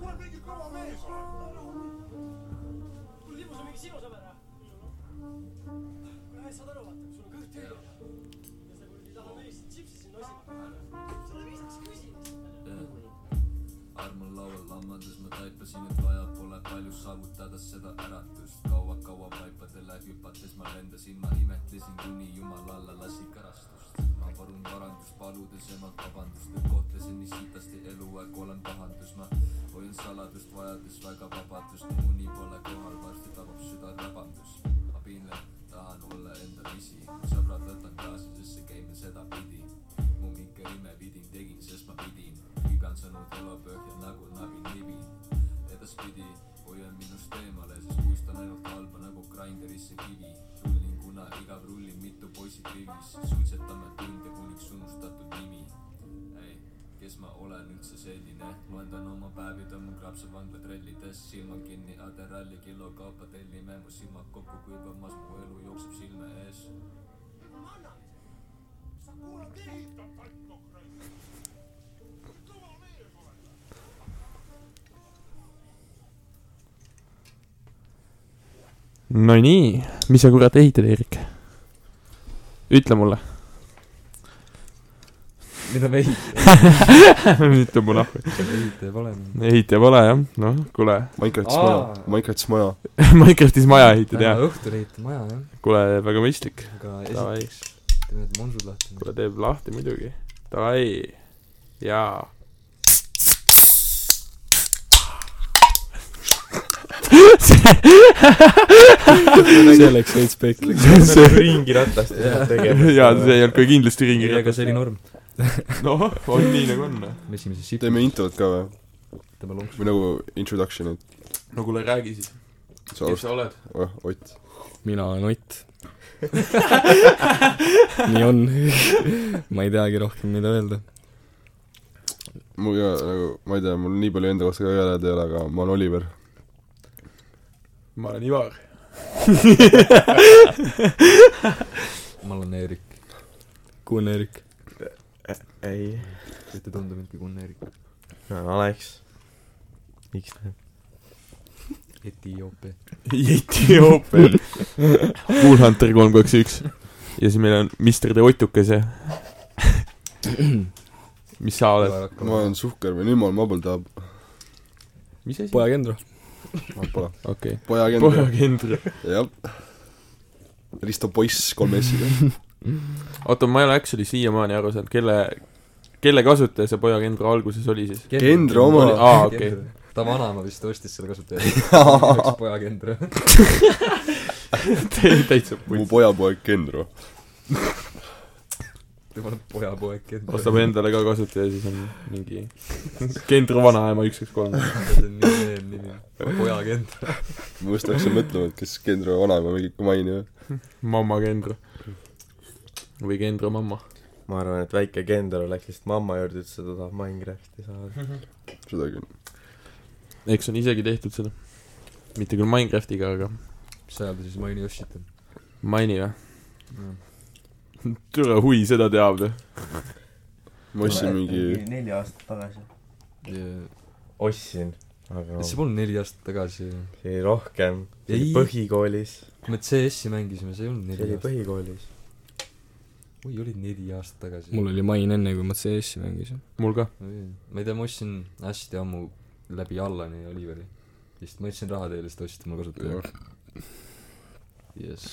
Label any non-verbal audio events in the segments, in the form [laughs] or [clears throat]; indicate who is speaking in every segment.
Speaker 1: kuule , mingi kõva mees ,
Speaker 2: kuule , Libus on mingi sinu sõber või ? kuule , saad aru , vaata , sul on kõht tühi . ja sa kuradi tahad õilsat tšipsi sinna ossima . sa oled viisakas küsija .
Speaker 3: arm on laual lammades , ma taipasin , et vaja pole palju saavutada seda äratust . kaua-kaua vaipadele hüpates ma lendasin , ma imetlesin , kuni jumal alla lasi kärastust . ma palun parandust , paludes emalt vabandust , et kohtlesin nii sitasti elu , aga olen pahandus . ma hoian saladust , vajades väga vabadust , uni pole kohal , varsti tabab süda rabandus . ma piinlen , tahan olla enda pisi , sõbrad võtan kaasa , sest see käib sedapidi mu mingi ime pidin , tegin , sest ma pidin . igan sõnu tuleb õhja nagu nabin libin . edaspidi hoian minust eemale , sest puistan ainult halba nagu grinderisse kivi . rullin kuna igav rullin mitu poisi krivis , suitsetame tunde kuniks unustatud nimi . ei , kes ma olen üldse selline , loendan oma päevi , tõmban krapsa vangla trellides , silmad kinni , aderalli kilo kaupa tellime , mu silmad kokku kuivamas , mu elu jookseb silme ees
Speaker 2: kuule , anna mees .
Speaker 1: sa kuulad nii ? kõva mees oled .
Speaker 4: Nonii , mis sa kurat ehitad , Eerik ? ütle [laughs] mulle .
Speaker 5: mida me ehit- ,
Speaker 4: ütle mulle .
Speaker 5: ehitaja paneme ?
Speaker 4: ehitaja pole jah , noh , kuule .
Speaker 6: Minecraftis
Speaker 5: Aa.
Speaker 6: maja , Minecraftis maja .
Speaker 4: [laughs] Minecraftis maja ehitad
Speaker 5: täna
Speaker 4: jah ?
Speaker 5: õhtul ehitame maja jah ,
Speaker 4: [laughs] kuule , väga mõistlik .
Speaker 5: aga
Speaker 4: Davai.
Speaker 5: esiteks teeme need monsud lahti .
Speaker 4: kuule , teeb lahti muidugi . Davai . [laughs] jaa .
Speaker 6: see läks veits pekki .
Speaker 4: [laughs] see ,
Speaker 5: ringiratast
Speaker 4: [laughs] jaa , see ei olnud kohe kindlasti ringi
Speaker 5: ei , aga see oli . norm .
Speaker 4: noh , on nii nagu on .
Speaker 5: me esimese siit
Speaker 6: teeme introt ka või ?
Speaker 5: võtame lonksu .
Speaker 6: või nagu introduction'it .
Speaker 4: no kuule , räägi siis .
Speaker 6: sa alustad ,
Speaker 4: sa oled ?
Speaker 6: Ott .
Speaker 7: mina olen Ott . nii on . ma ei teagi rohkem , mida öelda .
Speaker 6: mul ka nagu , ma ei tea , mul nii palju enda kohta ka öelda ei ole , aga ma olen Oliver .
Speaker 4: ma olen Ivar .
Speaker 5: ma olen Eerik ,
Speaker 7: Kuun-Erik .
Speaker 8: ei ,
Speaker 5: võite tunda mind kui Gunn Eerik .
Speaker 8: ma olen Alex . miks näeb ?
Speaker 5: Etioopia .
Speaker 4: Etioopia . Woolhunter kolm , kaks , üks . ja siis meil on Mister De Otukas ja mis sa oled ?
Speaker 6: ma olen Suhker või nüüd ma olen Mabel Taab .
Speaker 4: mis asi ?
Speaker 7: poja Kendro .
Speaker 6: ma pole .
Speaker 4: okei .
Speaker 6: pojakend .
Speaker 4: pojakindral .
Speaker 6: jah . Risto Poiss kolme S-iga .
Speaker 4: oota , ma ei ole actually siiamaani aru saanud , kelle , kelle kasutaja see pojakindral alguses oli [laughs] siis ?
Speaker 6: Kendro oma.
Speaker 4: Aa, okei. .
Speaker 5: ta vanaema vist ostis selle
Speaker 8: [laughs]
Speaker 5: kasutaja . üks poja Kendro .
Speaker 4: täitsa pull
Speaker 6: mu . pojapoeg Kendro .
Speaker 5: temal on pojapoeg Kendro .
Speaker 4: ostab .
Speaker 5: [laughs]
Speaker 4: endale ka kasutaja , siis on [laughs] mingi Kendro vanaema üks , üks , kolm .
Speaker 5: see on nii meem nimi . poja Kendro .
Speaker 6: ma just hakkasin mõtlema , et kes Kendro vanaema mingit mainib .
Speaker 4: mamma Kendro . või Kendro mamma .
Speaker 8: ma arvan , et väike Kendro läks lihtsalt mamma juurde , ütles , et ta tahab Minecrafti saada .
Speaker 6: seda küll .
Speaker 4: eks on isegi tehtud seda . mitte küll Minecraftiga , aga
Speaker 5: mis ajal ta siis Maini Yoshit on ?
Speaker 4: maini või ? türa hui seda teab või ?
Speaker 6: ma ostsin mingi ,
Speaker 8: neli aastat tagasi .
Speaker 5: see
Speaker 8: ostsin , aga
Speaker 5: polnud neli aastat tagasi ju .
Speaker 8: see oli rohkem . see
Speaker 5: Ei.
Speaker 8: oli põhikoolis .
Speaker 5: kui me CS-i mängisime , see ei olnud
Speaker 8: see
Speaker 5: neli
Speaker 8: oli
Speaker 5: aastat .
Speaker 8: põhikoolis .
Speaker 5: oi , oli neli aastat tagasi .
Speaker 7: mul oli main enne , kui ma CS-i mängisin .
Speaker 4: mul ka .
Speaker 5: ma ei tea , ma ostsin hästi ammu läbi Allani ja Oliveri . vist ma andsin raha teile , siis te ostsite mulle kasutaja . jess .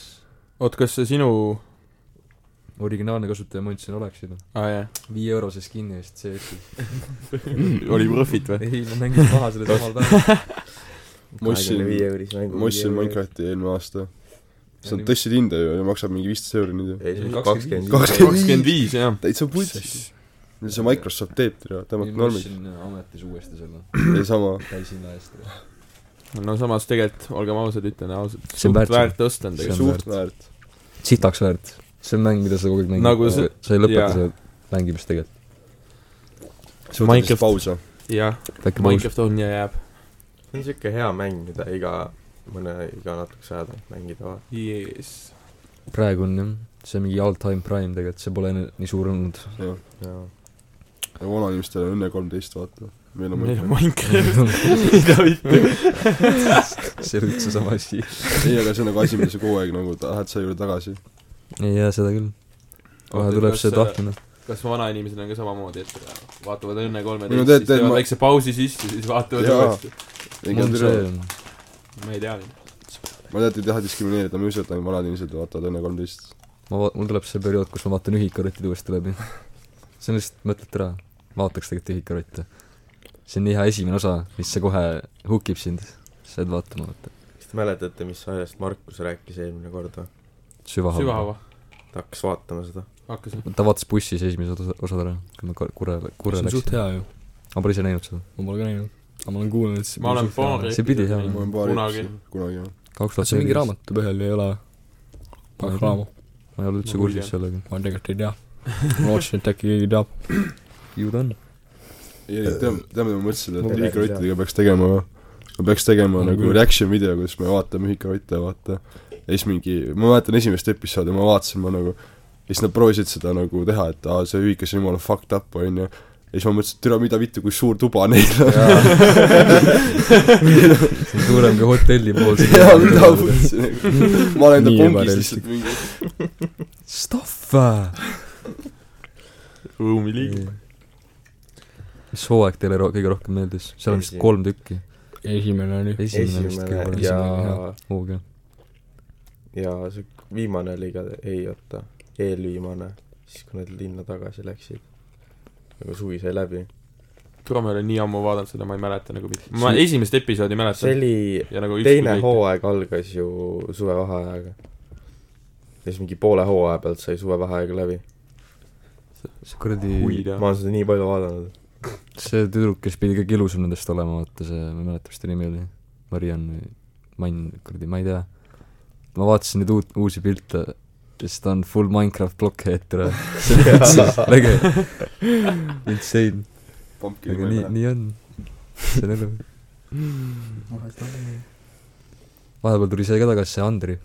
Speaker 4: oot , kas see sinu ,
Speaker 5: originaalne kasutaja ma andsin Oleksile .
Speaker 4: aa Ah, jaa ,
Speaker 5: viie eurose skin'i eest CS-is .
Speaker 4: [laughs] oli Profit või ?
Speaker 5: ei , ma mängisin maha selle samal päeval .
Speaker 6: ma ostsin ,
Speaker 8: viie eurist mängu .
Speaker 6: ma ostsin . Minecrafti eelmine aasta . see on , tõstsid hinda ju , maksab mingi viisteist euri nüüd ju .
Speaker 8: ei , see oli
Speaker 5: Kakskümmend
Speaker 8: kakskümmend
Speaker 6: viis.
Speaker 8: viis .
Speaker 4: kakskümmend viis , jah .
Speaker 6: täitsa putsis . see Microsoft teeb , tere , tõmbab
Speaker 5: ma
Speaker 6: normid .
Speaker 5: ostsin äh, ametis uuesti selle
Speaker 6: ei sama .
Speaker 5: täishinna eest .
Speaker 4: no samas tegelikult , olgem ausad , ütlen ausalt ,
Speaker 7: See on
Speaker 4: suht
Speaker 7: väärt-
Speaker 4: väärt osta on
Speaker 7: see
Speaker 4: tegelikult .
Speaker 7: on
Speaker 6: suht
Speaker 7: väärt.
Speaker 6: väärt .
Speaker 5: sitaks väärt . see on mäng , mida sa kogu aeg mängid
Speaker 4: Nagu see-
Speaker 5: sa ei lõpeta
Speaker 4: jaa.
Speaker 5: seda mängimist tegelikult .
Speaker 6: see võtab
Speaker 4: Minecraft-
Speaker 6: vist pausa .
Speaker 4: jah ,
Speaker 5: väike paus .
Speaker 4: Minecraft on ja jääb .
Speaker 8: see on siuke hea mäng , mida iga , mõne , iga natukese aja tagant mängida vaata .
Speaker 4: jess .
Speaker 5: praegu on jah . see on mingi all time prime tegelikult , see pole nii suur
Speaker 7: [laughs]
Speaker 5: olnud .
Speaker 6: jah , jaa . aga vanainimestel on Õnne kolmteist , vaata . meil on
Speaker 4: meil on
Speaker 6: muidu .
Speaker 4: [laughs] Minecraft .
Speaker 5: see on üldse sama asi .
Speaker 6: ei , aga see on nagu asi , mida sa kogu aeg nagu lähed selle juurde tagasi .
Speaker 5: ei jaa , seda küll . kohe tuleb see . tahtmine .
Speaker 4: äh, kas vanainimesed on ka samamoodi , et äh, vaatavad Õnne
Speaker 6: No tead-
Speaker 4: kolmeteist ,
Speaker 6: tead,
Speaker 4: teevad
Speaker 6: ma-
Speaker 4: väikse pausi sisse , siis vaatavad
Speaker 6: Jaa.
Speaker 4: uuesti .
Speaker 5: mul on see
Speaker 6: ma ,
Speaker 4: ma ei tea .
Speaker 6: tean , et ei taha diskrimineerida , ma ei usu , et ainult vanad inimesed vaatavad Õnne kolmteist .
Speaker 5: ma va- , mul tuleb see periood , kus ma vaatan ühikarottid uuesti läbi . see on lihtsalt , mõtled ära , vaataks tegelikult ühikarotte . see on nii hea esimene osa , mis see kohe hook ib sind . sa jääd vaatama , vaata .
Speaker 8: kas te mäletate , mis asjast Markus rääkis eelmine kord või ?
Speaker 5: süvahaava .
Speaker 4: sügava .
Speaker 8: ta hakkas vaatama seda .
Speaker 4: hakkas või ?
Speaker 5: ta vaatas bussis esimesed osa , osad ära , kui me kurre , kurre
Speaker 7: see on suht
Speaker 5: läksime .
Speaker 7: hea ju ,
Speaker 5: ma pole ise näinud seda .
Speaker 7: ma pole ka näinud . aga ma olen kuulnud , et see
Speaker 4: ma olen paari .
Speaker 5: See pidi hea
Speaker 6: ma
Speaker 5: olema.
Speaker 6: olen paari
Speaker 4: kunagi .
Speaker 6: kunagi jah .
Speaker 5: kaks
Speaker 7: kas
Speaker 5: tuhat
Speaker 7: see mingi . raamatu põhjal ei ole
Speaker 5: Ma ei
Speaker 7: pannud raamu ?
Speaker 5: ma ei ole üldse
Speaker 4: Ma
Speaker 5: kursis sellega .
Speaker 7: ma tegelikult ei tea . ma lootsin , et äkki keegi teab .
Speaker 5: ju ta on .
Speaker 6: ei , tead , tead , mida ma mõtlesin ,
Speaker 8: Ma
Speaker 6: et
Speaker 8: pean-
Speaker 6: ühikarottidega peaks tegema või ? ma peaks tegema
Speaker 5: On
Speaker 6: nagu
Speaker 5: küll.
Speaker 6: reaction video , kus me vaatame ühikarotte , vaata . ja siis mingi , ma mäletan esimest episoodi , ma vaatasin , ma nagu , ja siis nad proovisid seda nagu teha , et aa , see ühikas on jumala fucked up , onju . ja siis ma mõtlesin , et türa , mida vittu , kui suur tuba neil [laughs] on .
Speaker 5: see on suurem kui hotelli pool .
Speaker 6: [laughs] jaa , mida ma mõtlesin . ma olen enda
Speaker 7: Nii
Speaker 6: pongis
Speaker 7: ebarealistlik.
Speaker 6: lihtsalt mingi ,
Speaker 5: Stuff äh.
Speaker 4: ruumi liigub .
Speaker 5: mis hooaeg teile ro- kõige rohkem meeldis ? seal on vist
Speaker 8: Esimene.
Speaker 5: kolm tükki .
Speaker 7: esimene oli .
Speaker 5: esimene vist
Speaker 8: esimene
Speaker 5: kõige parem .
Speaker 8: ja ,
Speaker 5: hooga .
Speaker 8: ja see viimane oli ka , ei oota , eelviimane , siis kui nad linna tagasi läksid . nagu suvi sai läbi .
Speaker 4: kuule , ma ei ole nii ammu vaadanud seda , ma ei mäleta nagu mitte . ma esimest episoodi
Speaker 8: see
Speaker 4: mäletan .
Speaker 8: oli
Speaker 4: ja nagu
Speaker 8: teine . hooaeg algas ju suvevaheajaga . ja siis mingi poole hooaja pealt sai suvevaheaeg läbi .
Speaker 5: see kuradi ,
Speaker 4: huvi
Speaker 8: ma
Speaker 4: teha .
Speaker 8: olen seda nii palju vaadanud .
Speaker 5: see tüdruk , kes pidi kõige ilusam nendest olema , vaata see , ma ei mäleta , mis ta nimi oli . Mariann või Mann , kuradi , ma ei tea . ma vaatasin neid uut , uusi pilte ja siis ta on full Minecraft blockhead ära . see on üldse väge . Insane .
Speaker 6: pumpkin ,
Speaker 5: aga
Speaker 6: ma ei
Speaker 5: nii ,
Speaker 6: mäleta .
Speaker 5: nii on . see on elu . vahepeal tuli see ka tagasi , see Andri .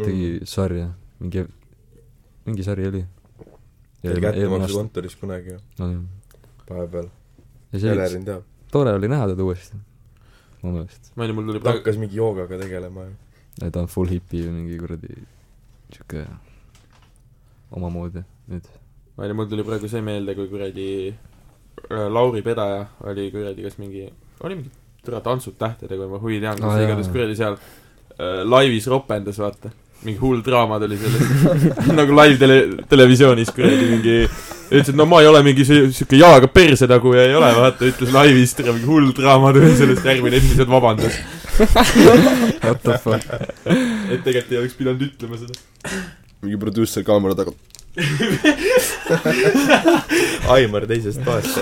Speaker 5: tegi mm. sarja , mingi , mingi sari oli .
Speaker 8: ta oli kättemaksukontoris kunagi ju ,
Speaker 5: no nii .
Speaker 8: vahepeal .
Speaker 5: ja see oli ,
Speaker 8: Elerin teab .
Speaker 5: tore oli näha teda uuesti . mu meelest .
Speaker 4: ma ei tea , mul tuli
Speaker 8: ta
Speaker 4: praegu ,
Speaker 8: hakkas mingi joogaga tegelema ju .
Speaker 5: ta on full hipi või mingi kuradi sihuke omamoodi nüüd .
Speaker 4: ma ei tea , mul tuli praegu see meelde , kui kuradi äh, Lauri Pedaja oli kuradi , kas mingi , oli mingi türa tantsud tähtedega või ma huvi ei teadnud ,
Speaker 5: Aa,
Speaker 4: kas
Speaker 5: jaa.
Speaker 4: igatahes kuradi seal äh, laivis ropendas , vaata . mingi hull draama tuli sellest . [laughs] nagu live tele- , televisioonis kuradi mingi ütles , et no ma ei ole mingi see- siuke jalaga persetagu ja ei ole , vaata , ütles laivis , tere , mingi hull draama tuli sellest , järgmine episood vabandas .
Speaker 5: What the fuck .
Speaker 4: [laughs] et tegelikult ei oleks pidanud ütlema seda .
Speaker 6: mingi produusser kaamera taga ,
Speaker 8: Aimar teisest
Speaker 5: [laughs]
Speaker 8: toast .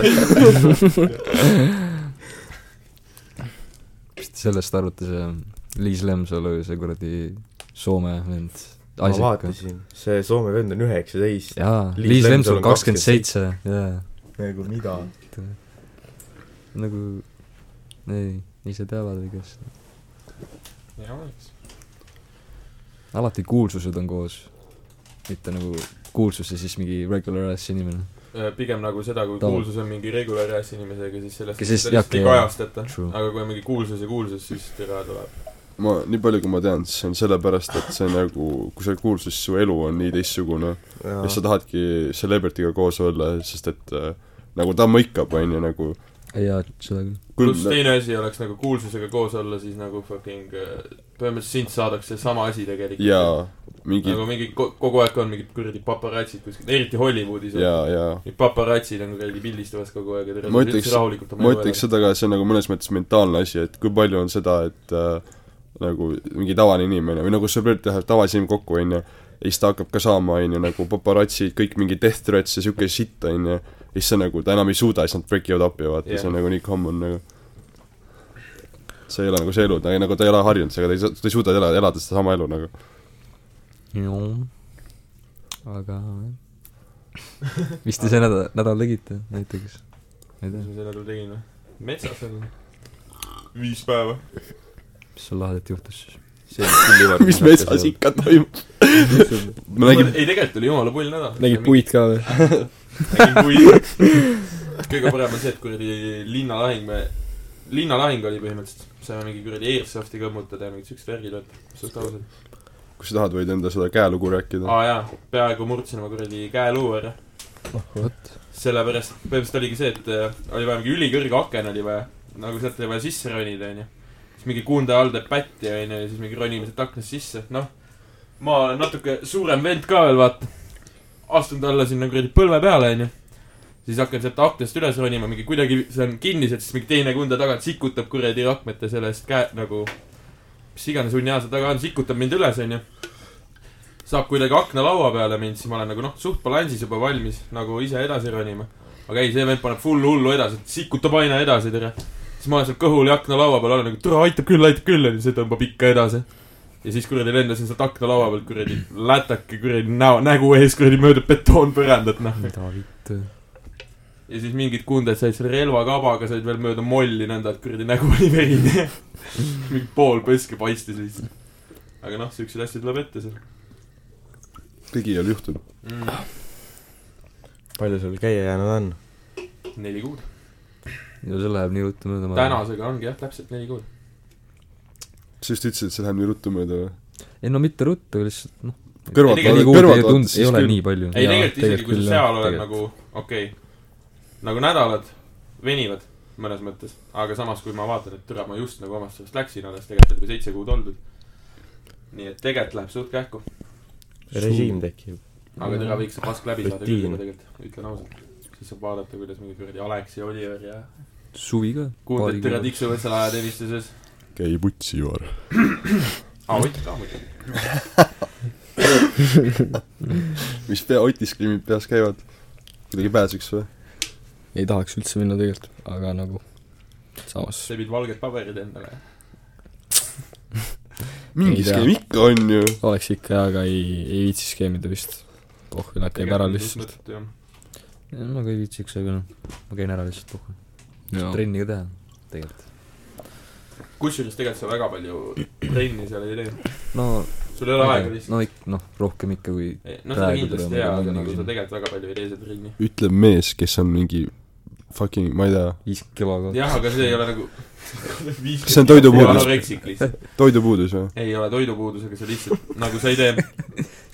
Speaker 5: mis te sellest arvate , see Liis Lemsalu ja see kuradi Soome vend .
Speaker 8: ma vaatasin , see Soome vend on üheksateist .
Speaker 5: jaa ,
Speaker 8: Liis
Speaker 5: Liis
Speaker 8: Lemsalu
Speaker 5: Lemsalu
Speaker 8: on
Speaker 5: kakskümmend seitse , jaa .
Speaker 8: nagu mida ?
Speaker 5: nagu , ei , ise teavad , ei kes .
Speaker 4: hea oleks .
Speaker 5: alati kuulsused on koos , mitte nagu kuulsus ja siis mingi regular ass inimene .
Speaker 4: Äh, pigem nagu seda , kui
Speaker 5: Tava-
Speaker 4: kuulsus on mingi regular ass inimesega , siis sellest
Speaker 5: Kes siis-
Speaker 4: sellest
Speaker 5: jah,
Speaker 4: ei
Speaker 5: jah.
Speaker 4: kajastata .
Speaker 5: True.
Speaker 4: aga kui on mingi kuulsus ja kuulsus , siis türa tuleb .
Speaker 6: ma , nii palju kui ma tean , siis see on sellepärast , et see nagu , kui sa oled kuulsus , siis su elu on nii teistsugune . ja siis sa tahadki celebrity'ga koos olla , sest et äh, nagu ta mõikab , on ju , nagu
Speaker 5: jaa , seda küll .
Speaker 4: pluss
Speaker 6: küll
Speaker 4: teine asi oleks nagu kuulsusega koos olla , siis nagu fucking äh, põhimõtteliselt sind saadakse sama asi tegelikult .
Speaker 6: jaa , mingi
Speaker 4: nagu mingi ko- kogu aeg on mingid kuradi paparatsid kuskil , eriti Hollywoodis on
Speaker 6: jaa , jaa .
Speaker 4: Need paparatsid on kuradi pildistamas kogu aeg ja
Speaker 6: Ma ütleks-
Speaker 4: rahulikult
Speaker 6: ma ütleks seda ka , see on nagu mõnes mõttes mentaalne asi , et kui palju on seda , et äh, nagu mingi tavaline inimene või nagu sõbrad lähevad tavalise inimene kokku , on ju , ja siis ta hakkab ka saama , on ju , nagu paparatsid , kõik mingi death threats ja siuke shit , on ju , ja siis see nagu , ta enam ei suuda , siis nad break ivad appi , vaata yeah. ,
Speaker 4: Jah.
Speaker 6: see on nagu nii common nagu . see ei ole nagu see elu , ta ei nagu , ta ei ole harjunud sellega , ta ei saa , ta ei suuda elada , elada sedasama elu nagu .
Speaker 5: aga mis te see nädal , nädal tegite näiteks ? ma ei
Speaker 4: mis ma
Speaker 5: tea ,
Speaker 4: sel nädalal tegin noh? või ? metsas olin . viis päeva .
Speaker 5: [laughs] mis sul lahedat juhtus siis ?
Speaker 8: see on küll niimoodi .
Speaker 6: mis metsas ? ikka toimub ? Nagu [laughs] ma nägin ,
Speaker 4: ei , tegelikult oli jumala pull nädal .
Speaker 7: nägid puid ka või ?
Speaker 4: nägin puid . kõige parem on see , et kuradi linnalahing , me , linnalahing oli põhimõtteliselt . saime mingi kuradi airsofti kõmmutada ja mingid siuksed värgid , et suht ausalt .
Speaker 6: kui sa tahad , võid enda seda käelugu rääkida .
Speaker 4: aa jaa , peaaegu murdsin oma kuradi käeluu ära . sellepärast , põhimõtteliselt oligi see , et äh, oli vaja mingi ülikõrge aken oli vaja . nagu sealt oli vaja sisse ronida , onju . siis mingi kuunde all teeb pätti , onju , ja siis mingi ronime sealt aknast sisse , noh . ma olen natuke suurem vend ka veel , vaata . astun talle sinna kuradi põlve peale , onju . siis hakkan sealt aknast üles ronima , mingi kuidagi , see on kinniselt , siis mingi teine kunde tagant sikutab kuradi rakmete sellest käe , nagu . mis iganes hunniaa seal taga on , sikutab mind üles , onju saab kuidagi aknalaua peale mind , siis ma olen nagu noh , suht balansis juba valmis nagu ise edasi ronima . aga ei , see vend paneb full hullu edasi , sikutab aina edasi , tere . siis ma olen seal kõhul ja aknalaua peal olen nagu , tule aitab küll , aitab küll , onju , see tõmbab ikka edasi . ja siis kuradi lendasin sealt aknalaua pealt kuradi lätake kuradi näo , nägu ees kuradi mööda betoonpõrandat , noh .
Speaker 5: mida vittu .
Speaker 4: ja siis mingid kunded said selle relvakabaga , said veel mööda molli nõnda , et kuradi nägu oli
Speaker 7: [laughs]
Speaker 4: verine . mingi pool põske paistis lihtsalt . aga noh , siukseid asju tuleb ette seal
Speaker 6: kõigil juhtub .
Speaker 4: mm. .
Speaker 8: palju sul käia jäänud on ?
Speaker 4: neli kuud .
Speaker 5: no see läheb nii ruttu mööda .
Speaker 4: tänasega ongi jah , täpselt neli kuud .
Speaker 6: sa just ütlesid , et see läheb nii ruttu mööda või ?
Speaker 5: ei no mitte ruttu , lihtsalt noh .
Speaker 6: Kõrvalt
Speaker 5: neli
Speaker 4: vaadates-
Speaker 5: kuud
Speaker 6: kõrvalt
Speaker 5: ei tund- ,
Speaker 6: vaadates
Speaker 5: ei
Speaker 6: siis
Speaker 5: ole
Speaker 6: küll.
Speaker 5: nii palju .
Speaker 4: ei ,
Speaker 7: Jaa,
Speaker 4: tegelikult isegi ,
Speaker 7: tegelikult
Speaker 4: kui
Speaker 7: küll,
Speaker 4: sa seal
Speaker 7: jah,
Speaker 4: oled nagu
Speaker 7: tegelikult. ,
Speaker 4: okei okay, , nagu nädalad venivad mõnes mõttes , aga samas , kui ma vaatan , et türa , ma just nagu omast sellest läksin , alles tegelikult juba seitse kuud oldud . nii et tegelikult läheb suht kähku ,
Speaker 8: režiim tekib .
Speaker 4: aga türa võiks see pask läbi saada küll
Speaker 8: Rutiin.
Speaker 4: juba tegelikult , ütlen ausalt . siis saab vaadata , kuidas mingi kuradi Aleksi Oliver ja
Speaker 5: suvi ka .
Speaker 4: kuuldud türa . tiksuvad seal ajateenistuses .
Speaker 6: käi putsi , Ivar .
Speaker 4: aa , Ott ka muidugi .
Speaker 6: mis pea , Otis kriimid peas käivad ? kuidagi pääseks või ?
Speaker 7: [laughs] ei tahaks üldse minna tegelikult , aga nagu samas
Speaker 4: sa pidid valged paberid endale .
Speaker 6: mingi
Speaker 7: Ei tea.
Speaker 6: skeem ikka on ju .
Speaker 7: oleks ikka hea , aga ei , ei viitsi skeemida vist . Oh, pohvil käib ära lihtsalt ..
Speaker 5: ma ka ei viitsiks , aga noh , ma käin ära lihtsalt puhkan . trenni ka teha , tegelikult .
Speaker 4: kusjuures tegelikult sa väga palju trenni seal ei tee .
Speaker 5: no ,
Speaker 4: sul ei ole aega lihtsalt .
Speaker 5: no ikka , noh , rohkem ikka kui
Speaker 4: Ei, no seda
Speaker 5: Praegu
Speaker 4: kindlasti
Speaker 5: tuleb
Speaker 4: jaa ,
Speaker 5: nagu
Speaker 4: aga
Speaker 5: mingi
Speaker 4: nagu sa
Speaker 5: selline-
Speaker 4: tegelikult väga palju ei tee seda trenni .
Speaker 6: ütleb mees , kes on mingi fucking , ma ei tea ,
Speaker 5: viis kilo ka .
Speaker 4: jah , aga see ei ole nagu
Speaker 6: Kas see on toidupuudus?
Speaker 4: anoreksik lihtsalt .
Speaker 6: toidupuudus või ?
Speaker 4: ei ole toidupuudus , aga see lihtsalt , nagu sa ei tee ,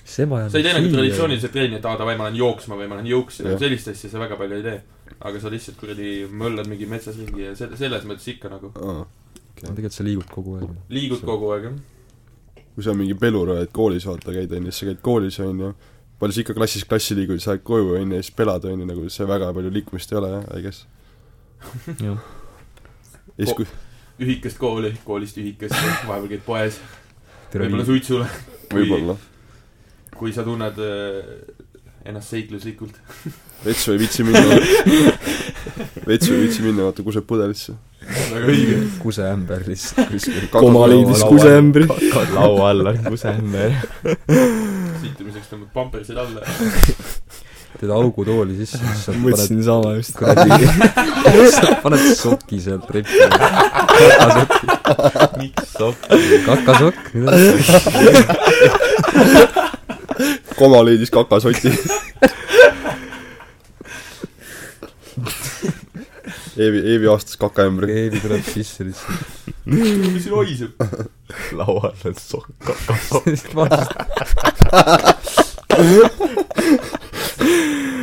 Speaker 5: sema ja
Speaker 4: sa ei tee nagu . traditsiooniliselt trenni , et aa , davai , ma lähen jooksma või ma lähen juuksi ,
Speaker 6: Jah.
Speaker 4: nagu sellist asja sa väga palju ei tee . aga sa lihtsalt kuradi möllad mingi metsas ringi ja selle , selles mõttes ikka nagu
Speaker 5: tegelikult sa liigud kogu aeg .
Speaker 4: liigud kogu aeg , jah .
Speaker 6: kui sa mingi pelur oled koolis , vaata , käid onju , siis sa käid koolis onju , palju sa ikka klassis klassi liigud , sa lähed koju onju ja siis pelad onju , nagu see väga palju liikumist ei ole jah , I guess .
Speaker 5: Jah.
Speaker 6: ja siis kui ,
Speaker 4: ühikast kooli , koolist ühikast , [laughs] vahepeal käid
Speaker 6: [laughs]
Speaker 4: poes , võib-olla
Speaker 5: tere ,
Speaker 4: suitsule ,
Speaker 6: võib-olla ,
Speaker 4: kui sa tunned äh, ennast seikluslikult . [laughs]
Speaker 6: vetsu ei viitsi [laughs] minna , vetsu ei viitsi minna , vaata kuseb pudelisse .
Speaker 4: väga õige .
Speaker 5: kuseämber lihtsalt .
Speaker 7: koma leidis kuseämbri .
Speaker 8: [laughs] laua alla , kus ämber .
Speaker 4: sittimiseks tõmbad pampersid alla
Speaker 5: teed augu tooli sisse , siis sa paned
Speaker 7: mõtlesin sama just .
Speaker 5: kuradi , paned soki sealt ripi . kakasoki . miks soki ?
Speaker 4: [laughs]
Speaker 5: kakasokk ,
Speaker 6: koma leidis kakasoti . Eevi , Eevi aastas kakaämbri .
Speaker 5: keegi tuleb sisse lihtsalt .
Speaker 4: mis siin hoiseb ?
Speaker 8: laual on sokk .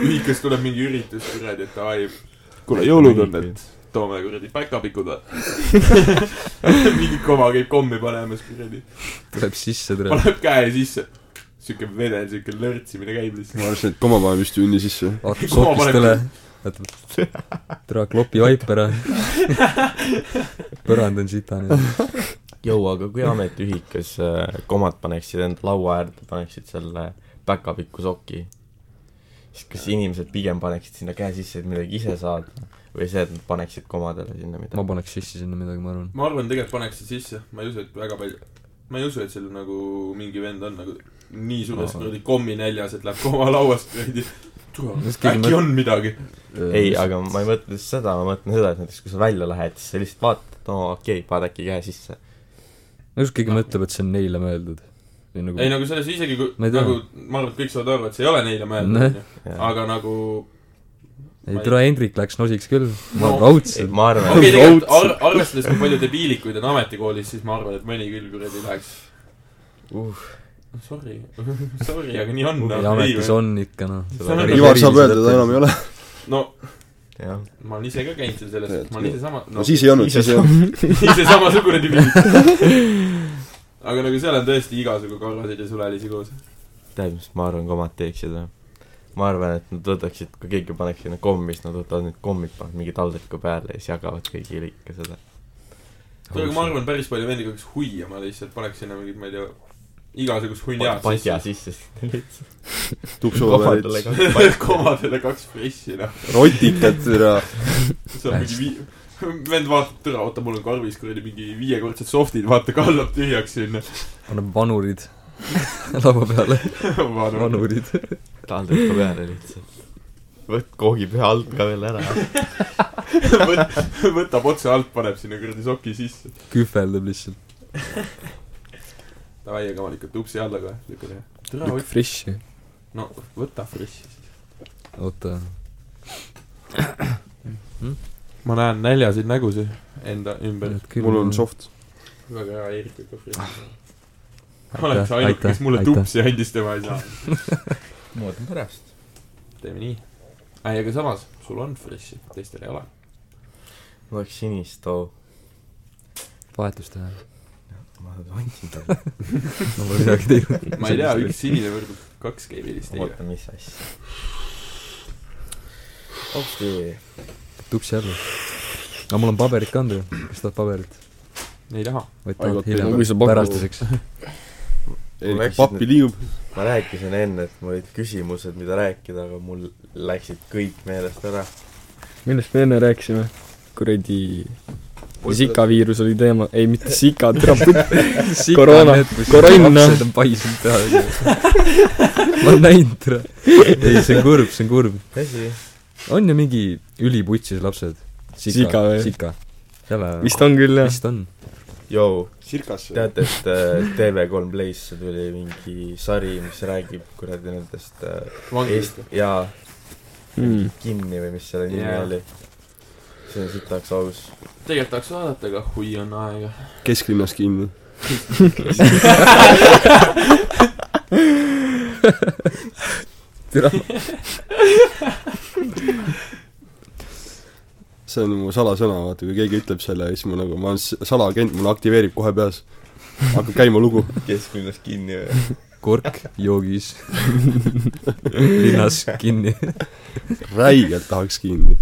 Speaker 4: ühikas tuleb mingi üritus , kuradi , et ai , kuule , jõulud on , et toome kuradi päkapikud või ? [laughs] mingi koma käib kommi panemas , kuradi ,
Speaker 5: tuleb sisse , [laughs] tuleb .
Speaker 4: paneb käe sisse . siuke vedel , siuke lörtsimine käib lihtsalt .
Speaker 6: ma arvasin , et koma paneb just junni sisse .
Speaker 5: vaatab
Speaker 4: Kuhu ma
Speaker 5: sokist
Speaker 4: panen?
Speaker 5: üle , vaatab , tule klopi vaip ära . põrand on sitane .
Speaker 8: jõu , aga kui ametiühikas äh, komad paneksid end laua äärde , paneksid selle päkapikku soki , siis kas inimesed pigem paneksid sinna käe sisse , et midagi ise saada või see , et nad paneksid komadele sinna midagi
Speaker 5: ma ? paneks sisse sinna midagi , ma arvan .
Speaker 4: ma arvan , tegelikult paneks see sisse , ma ei usu , et väga palju , ma ei usu , et seal nagu mingi vend on nagu nii suures kuradi kommi näljas , et läheb koma lauast kuradi .
Speaker 5: Kas keegi
Speaker 4: äkki
Speaker 5: mõt-
Speaker 4: on midagi .
Speaker 8: ei , aga ma ei mõtle lihtsalt seda , ma mõtlen seda , et näiteks kui sa välja lähed , siis sa lihtsalt vaatad , et oo , okei okay, , paned äkki käe sisse .
Speaker 5: no kus keegi mõtleb , et see on neile mõeldud . või nagu
Speaker 4: ei nagu selles isegi kui
Speaker 5: Ma ei tea.
Speaker 4: nagu ma arvan , et kõik saavad aru , et see ei ole neile mõeldud
Speaker 5: Nojah.
Speaker 4: onju aga nagu
Speaker 5: ei
Speaker 4: ma ei-
Speaker 5: tule , Hendrik läks nosiks küll , ma
Speaker 4: No.
Speaker 5: raudselt .
Speaker 8: ma arvan ,
Speaker 4: okei
Speaker 8: et
Speaker 4: tegelikult ar- arvestades kui palju debiilikuid on ametikoolis siis ma arvan et mõni küll kuradi läheks
Speaker 8: Uh.
Speaker 4: sorry [laughs] sorry aga nii on noh,
Speaker 5: ja ametis on ikka noh
Speaker 4: on- .
Speaker 6: Ivar saab öelda , et ta enam ei ole .
Speaker 4: nagu no
Speaker 8: jah ,
Speaker 4: ma olen ise ka käinud seal selles ma olen ise sama
Speaker 6: no siis ei olnud , siis ei olnud .
Speaker 4: [laughs] ise samasugune debiil [laughs] aga nagu seal on tõesti igasugu karvaseid ja sulelisi koos
Speaker 8: tead , mis ma arvan , komad teeksid või ? ma arvan , et nad võtaksid , kui keegi paneks sinna kommi , siis nad võtavad need kommid , panevad mingi taldriku peale ja siis jagavad kõigile ikka seda .
Speaker 4: kuule aga ma arvan päris palju vendi peaks huiama lihtsalt paneks sinna mingid ma ei tea igasugust hunniaad
Speaker 8: patja
Speaker 4: [laughs]
Speaker 8: sisse .
Speaker 6: tupsuva peal ,
Speaker 4: sisse komadele kaks pressi noh
Speaker 6: rotikad ja
Speaker 4: see on mingi vii- , vend vaatab , tere , oota , mul on karvis kuradi mingi viiekordsed softid , vaata , kallab tühjaks sinna . [laughs]
Speaker 5: paneb vanurid [laughs] laua peale ,
Speaker 4: vanu . [laughs]
Speaker 5: vanurid .
Speaker 8: taldriku peale lihtsalt . võt- , koogib ühe alt ka veel ära .
Speaker 4: võtab otse alt , paneb sinna kuradi soki sisse .
Speaker 5: kühveldab lihtsalt .
Speaker 4: Davai , aga ma lükkan tupsi alla kohe , lükkan ühe . tere ,
Speaker 7: lükk
Speaker 4: võta ,
Speaker 7: fresh'i .
Speaker 4: no võta friss siis .
Speaker 5: oota ,
Speaker 4: ma näen näljaseid nägusid enda ümber .
Speaker 5: et küll .
Speaker 6: mul on . soft .
Speaker 4: väga hea , Eerik lükkab frissi .
Speaker 5: Aitäh,
Speaker 4: oleks ainuke , kes
Speaker 5: aitäh,
Speaker 4: mulle
Speaker 5: aitäh.
Speaker 4: tupsi andis , tema [laughs] ei saa .
Speaker 8: ma ootan pärast .
Speaker 4: teeme nii . ei , aga samas , sul on frissi , teistel ei ole .
Speaker 8: ma oleks sinist too .
Speaker 5: vahetust teha .
Speaker 8: ma andsin talle .
Speaker 5: ma pole midagi teinud .
Speaker 4: ma ei tea , üks [laughs] sinine võrdub kaks keemilist .
Speaker 8: oota , mis asja . okei okay. ,
Speaker 5: tupsi alla . aga mul on paberit ka anda ju , kas tahad paberit ?
Speaker 4: ei taha .
Speaker 5: vaid
Speaker 6: Aigo,
Speaker 5: tahad
Speaker 6: teil on-
Speaker 5: hiljem
Speaker 7: kui sa pakud- ,
Speaker 5: pärastiseks .
Speaker 6: Erika pappi liigub .
Speaker 8: ma rääkisin enne , et mul olid küsimused , mida rääkida , aga mul läksid kõik meelest ära .
Speaker 7: millest me enne rääkisime ? kuradi Zika viirus oli teema , ei mitte Zika , türa putt- Koroona- koronna.
Speaker 5: lapsed on paisunud peaga . ma olen näinud , tere . ei , see on kurb , see on kurb .
Speaker 8: tõsi ?
Speaker 5: on ju mingi üliputsis lapsed ?
Speaker 7: Siga või?
Speaker 5: sika .
Speaker 7: vist on küll jah .
Speaker 5: vist on .
Speaker 8: Jou ,
Speaker 6: sirkasse .
Speaker 8: teate , et äh, TV3 Playsse tuli mingi sari , mis räägib kuradi nendest äh,
Speaker 4: vangist
Speaker 8: Eest- jaa ,
Speaker 7: Mm.
Speaker 8: kinni või mis selle nimi
Speaker 4: Jaa.
Speaker 8: oli . see on sitaks aus .
Speaker 4: tegelikult tahaks vaadata , aga hui on aega .
Speaker 6: kesklinnas kinni .
Speaker 5: türa ,
Speaker 6: see on mu salasõna , vaata , kui keegi ütleb selle , siis mul nagu , ma olen s- salaagent , mul aktiveerib kohe peas . hakkab käima lugu .
Speaker 8: kesklinnas kinni või ?
Speaker 5: kork joogis linnas kinni .
Speaker 6: räigelt tahaks kinni .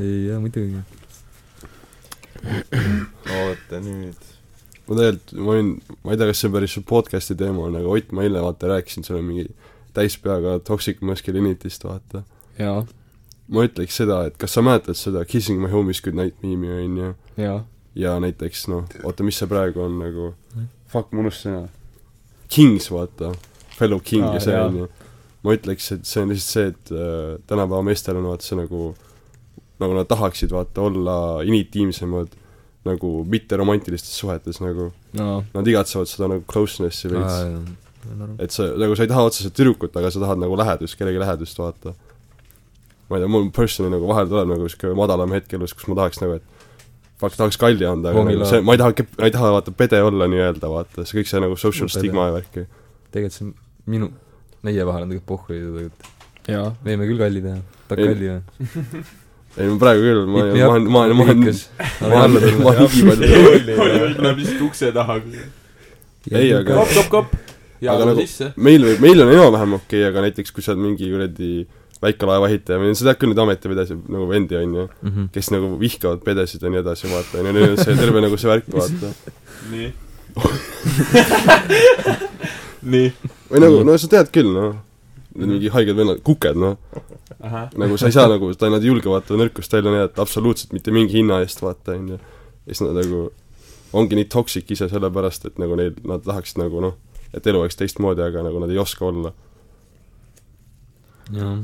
Speaker 5: ei jaa , muidugi .
Speaker 8: oota nüüd .
Speaker 6: ma tegelikult , ma olin , ma ei tea , kas see on päris su podcast'i teema , aga nagu Ott , ma eile vaata rääkisin sulle mingi täispeaga Toxic Masculinity'st , vaata .
Speaker 7: jaa ,
Speaker 6: ma ütleks seda , et kas sa mäletad seda Kissing my homies good night meemi , on ju ,
Speaker 7: jaa .
Speaker 6: ja näiteks noh , oota , mis see praegu on nagu , fuck , ma unustasin ära . Kings , vaata , fellow king
Speaker 7: Aa,
Speaker 6: ja see ,
Speaker 7: jaa.
Speaker 6: on ju . ma ütleks , et see on lihtsalt see , et äh, tänapäeva meestel on vaata see nagu , nagu nad tahaksid vaata olla intiimsemad nagu mitteromantilistes suhetes nagu
Speaker 7: aa ,
Speaker 6: nad igatsevad seda nagu closeness'i veits ah, . et sa , nagu sa ei taha otseselt tüdrukut , aga sa tahad nagu lähedust , kellegi lähedust vaata . ma ei tea , mul personally nagu vahel tuleb nagu sihuke madalam hetk elus , kus ma tahaks nagu , et fuck , tahaks kalli anda , aga
Speaker 5: Hommilaad.
Speaker 6: nagu see , ma ei taha , ma ei taha vaata pede olla nii-öelda , vaata , see kõik see nagu social
Speaker 5: No pede.
Speaker 6: stigma ja värki .
Speaker 5: tegelikult see on minu , meie vahel on tegelikult pohhu ju tegelikult .
Speaker 7: jaa .
Speaker 5: me võime küll kalli teha . tahad
Speaker 6: Ei,
Speaker 5: kalli või ?
Speaker 6: ei no praegu küll , ma , ma olen , ma olen , ma olen , ma olen , ma olen
Speaker 4: [laughs]
Speaker 8: Ei,
Speaker 6: higipalju .
Speaker 8: oli, jah.
Speaker 4: Oliver läheb lihtsalt ukse taha .
Speaker 6: ei , aga
Speaker 4: kopp , kopp , kopp . ja
Speaker 6: Aga
Speaker 4: aga
Speaker 6: nagu-
Speaker 4: sisse .
Speaker 6: meil , meil on enam-vähem okei okay, , aga näiteks kui sa oled mingi kuradi väikelaeva ehitaja , sa tead küll neid ametipidajaid nagu vendi , on ju ,
Speaker 5: kopp .
Speaker 6: kes nagu vihkavad pedesid ja nii edasi , vaata , on ju , neil on see terve nagu see värk , vaata .
Speaker 4: [laughs] nii nii .
Speaker 6: või nagu , no sa tead küll , noh . Need mingi haiged vennad , kuked , noh .
Speaker 4: ahah .
Speaker 6: nagu sa ei saa nagu , nad ei julge vaata nõrkust välja näidata absoluutselt mitte mingi hinna eest , vaata , on ju . ja siis nad nagu , ongi nii toksik ise sellepärast , et nagu neil , nad tahaksid nagu noh , et elu oleks teistmoodi , aga nagu nad ei oska olla .
Speaker 5: jah .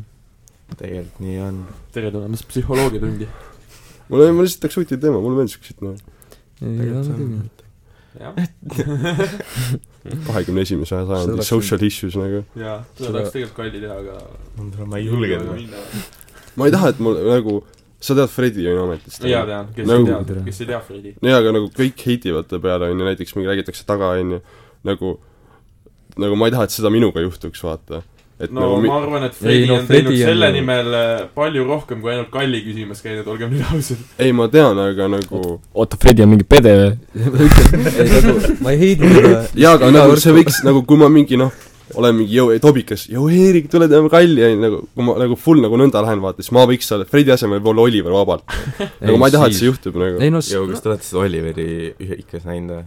Speaker 8: tegelikult nii on .
Speaker 4: tere tulemast psühholoogia tundi .
Speaker 6: mul , ma lihtsalt tahaks huvitav teema , mulle meeldis siukseid , noh .
Speaker 5: ei ole küll .
Speaker 4: jah ,
Speaker 6: kahekümne esimese
Speaker 5: See
Speaker 6: sajandi
Speaker 5: oleks-
Speaker 6: social issues nagu .
Speaker 4: jaa , seda
Speaker 5: Seda-
Speaker 4: tahaks tegelikult Kalli teha , aga
Speaker 8: ma ei julgenud .
Speaker 4: minna .
Speaker 6: ma ei taha , et mul nagu , sa tead Fredi on ju ametis ?
Speaker 4: jaa , tean , kes ei
Speaker 6: Nagu-
Speaker 4: tea , kes ei tea Fredi .
Speaker 6: nojah , aga nagu kõik heitivad ta peale , on ju , näiteks mingi räägitakse taga , on ju , nagu , nagu ma ei taha , et seda minuga juhtuks , vaata . et
Speaker 4: no
Speaker 6: nagu mi-
Speaker 4: ma arvan , et Fredi
Speaker 5: Ei, no
Speaker 4: on teinud
Speaker 5: Fredi on
Speaker 4: selle
Speaker 5: ju-
Speaker 4: nimel äh, palju rohkem , kui ainult Kalli küsimas käinud , olgem nüüd ausad .
Speaker 6: ei , ma tean , aga nagu
Speaker 7: oota , Fredi on mingi pede või ?
Speaker 5: [laughs] ei nagu , ma ei heidi teda .
Speaker 6: jaa , aga nagu see võiks nagu , kui ma mingi noh , olen mingi jõu , tobikas , jõu Eerik , tule teeme kalli , on ju , nagu kui ma nagu full nagu nõnda lähen , vaata , siis ma võiks olla Fredi asemel võib-olla Oliver vabalt . nagu ma ei taha , et see juhtub nagu ,
Speaker 5: ei noh ,
Speaker 8: jõu , kas te olete seda Oliveri ühikas näinud või ?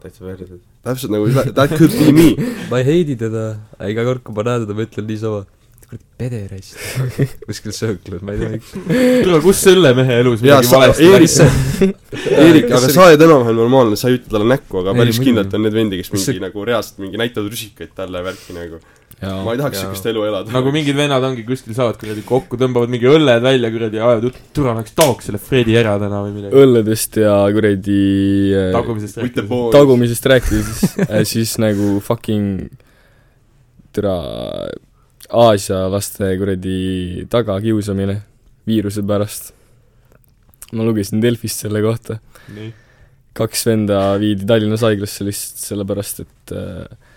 Speaker 8: täitsa perses .
Speaker 6: täpselt nagu that- that could be me .
Speaker 5: ma ei heidi teda , aga iga kord , kui ma näen teda , ma ütlen niisama , kurat , [laughs] pederast . kuskil sööklas , ma ei tea , miks .
Speaker 4: kuule , kus selle mehe elus
Speaker 6: jaa ,
Speaker 4: midagi
Speaker 6: sa ,
Speaker 4: valesti
Speaker 6: Eerik
Speaker 4: läks ?,
Speaker 6: [laughs] Eerik , aga sa oled enam-vähem normaalne , sa ei ütle talle näkku , aga
Speaker 5: Ei,
Speaker 6: päris
Speaker 5: muidugi.
Speaker 6: kindlalt on need vendi , kes mingi
Speaker 5: See-
Speaker 6: nagu reaalselt mingi näitavad rusikaid talle ja värki nagu . ma ei tahaks
Speaker 8: jaa.
Speaker 6: sihukest elu elada .
Speaker 4: [laughs] nagu mingid vennad ongi kuskil saavad kuradi kokku , tõmbavad mingi õlled välja kuradi ja ajavad juttu , et tule oleks tooks selle Fredi ära täna või midagi .
Speaker 7: õlledest ja kuradi äh,
Speaker 4: tagumisest
Speaker 6: With the
Speaker 4: rääkides .
Speaker 6: ball .
Speaker 7: tagumisest rääkides , [laughs] siis äh, , siis nagu fucking türa Aasia laste kuradi tagakiusamine viiruse pärast . ma lugesin Delfist selle kohta .
Speaker 4: nii ,
Speaker 7: kaks venda viidi Tallinnas haiglasse lihtsalt sellepärast , et äh,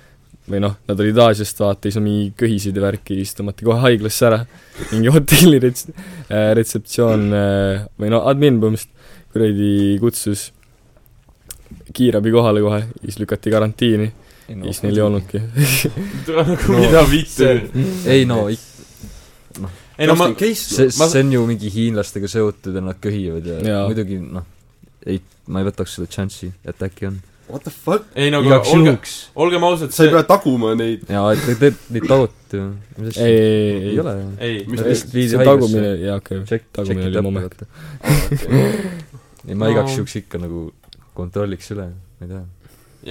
Speaker 7: või noh , nad olid Aasiast vaata , siis on mingi köhisid ja värki , siis tõmmati kohe haiglasse ära . mingi hotelli rets- , äh, retseptsioon äh, või no admin põhimõtteliselt kuradi kutsus kiirabi kohale kohe , siis lükati karantiini , siis neil ei . olnudki .
Speaker 4: tule nagu mida vittu .
Speaker 5: [laughs] ei no ,
Speaker 4: ei no ma ,
Speaker 5: see ,
Speaker 4: Ma-
Speaker 5: see on ju mingi hiinlastega seotud ja nad köhivad ja, ja.
Speaker 7: Jaa.
Speaker 5: muidugi noh , ei , ma ei võtaks seda chance'i , et äkki on .
Speaker 6: What the fuck ,
Speaker 4: ei no aga
Speaker 5: igaks
Speaker 4: olge ,
Speaker 5: juhuks .
Speaker 4: olgem ausad ,
Speaker 6: sa ei
Speaker 4: see ,
Speaker 6: pea taguma neid .
Speaker 5: jaa , et te teete neid taot ju . mis
Speaker 7: ei ,
Speaker 5: asja ?
Speaker 7: ei ,
Speaker 5: ei
Speaker 7: ei ,
Speaker 5: ole ju .
Speaker 4: ei ,
Speaker 6: mis
Speaker 5: Nad
Speaker 6: teist
Speaker 5: lihtsalt viidi
Speaker 7: see tagumine
Speaker 5: haiglasse .,
Speaker 7: jaa , okei okay. ,
Speaker 5: Check ,
Speaker 7: tagumine
Speaker 5: check it
Speaker 7: oli
Speaker 5: up ,
Speaker 7: moment.
Speaker 5: vaata . ei , ma
Speaker 4: No.
Speaker 5: igaks juhuks ikka nagu kontrolliks üle , ma ei tea .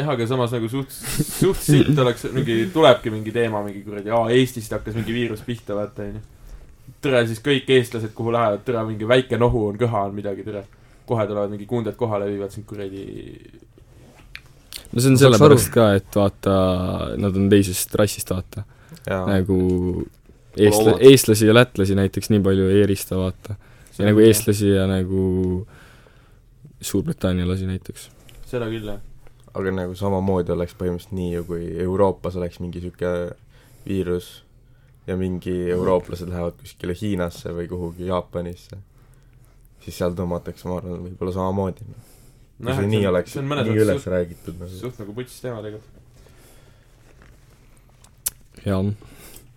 Speaker 4: jah , aga samas nagu suht , suht sitt oleks , mingi tulebki mingi teema , mingi kuradi , aa , Eestist hakkas mingi viirus pihta , vaata onju . tere siis kõik eestlased , kuhu lähevad , tere mingi väike nohu on , köha on midagi , tere . kohe tulevad mingi kuunded kohale , viivad sind kuradi ,
Speaker 7: no see on
Speaker 5: Ma saaks
Speaker 7: sellepärast ka , et vaata , nad on teisest rassist , vaata .
Speaker 8: jaa .
Speaker 7: nagu eestla-
Speaker 6: omad. ,
Speaker 7: eestlasi ja lätlasi näiteks nii palju ei erista , vaata . ja nagu eestlasi ja nagu suurbritannialasi näiteks .
Speaker 4: seda küll jah .
Speaker 8: aga nagu samamoodi oleks põhimõtteliselt nii ju , kui Euroopas oleks mingi sihuke viirus ja mingi
Speaker 4: Mhm.
Speaker 8: eurooplased lähevad kuskile Hiinasse või kuhugi Jaapanisse , siis seal tõmmatakse , ma arvan , võib-olla samamoodi . kui see nii oleks
Speaker 4: Noh, see on mõnes
Speaker 8: nii üles
Speaker 4: mõttes
Speaker 8: räägitud
Speaker 4: suht ,
Speaker 8: nagu .
Speaker 4: suht nagu putsis teema tegelikult . [laughs]
Speaker 7: jaa ,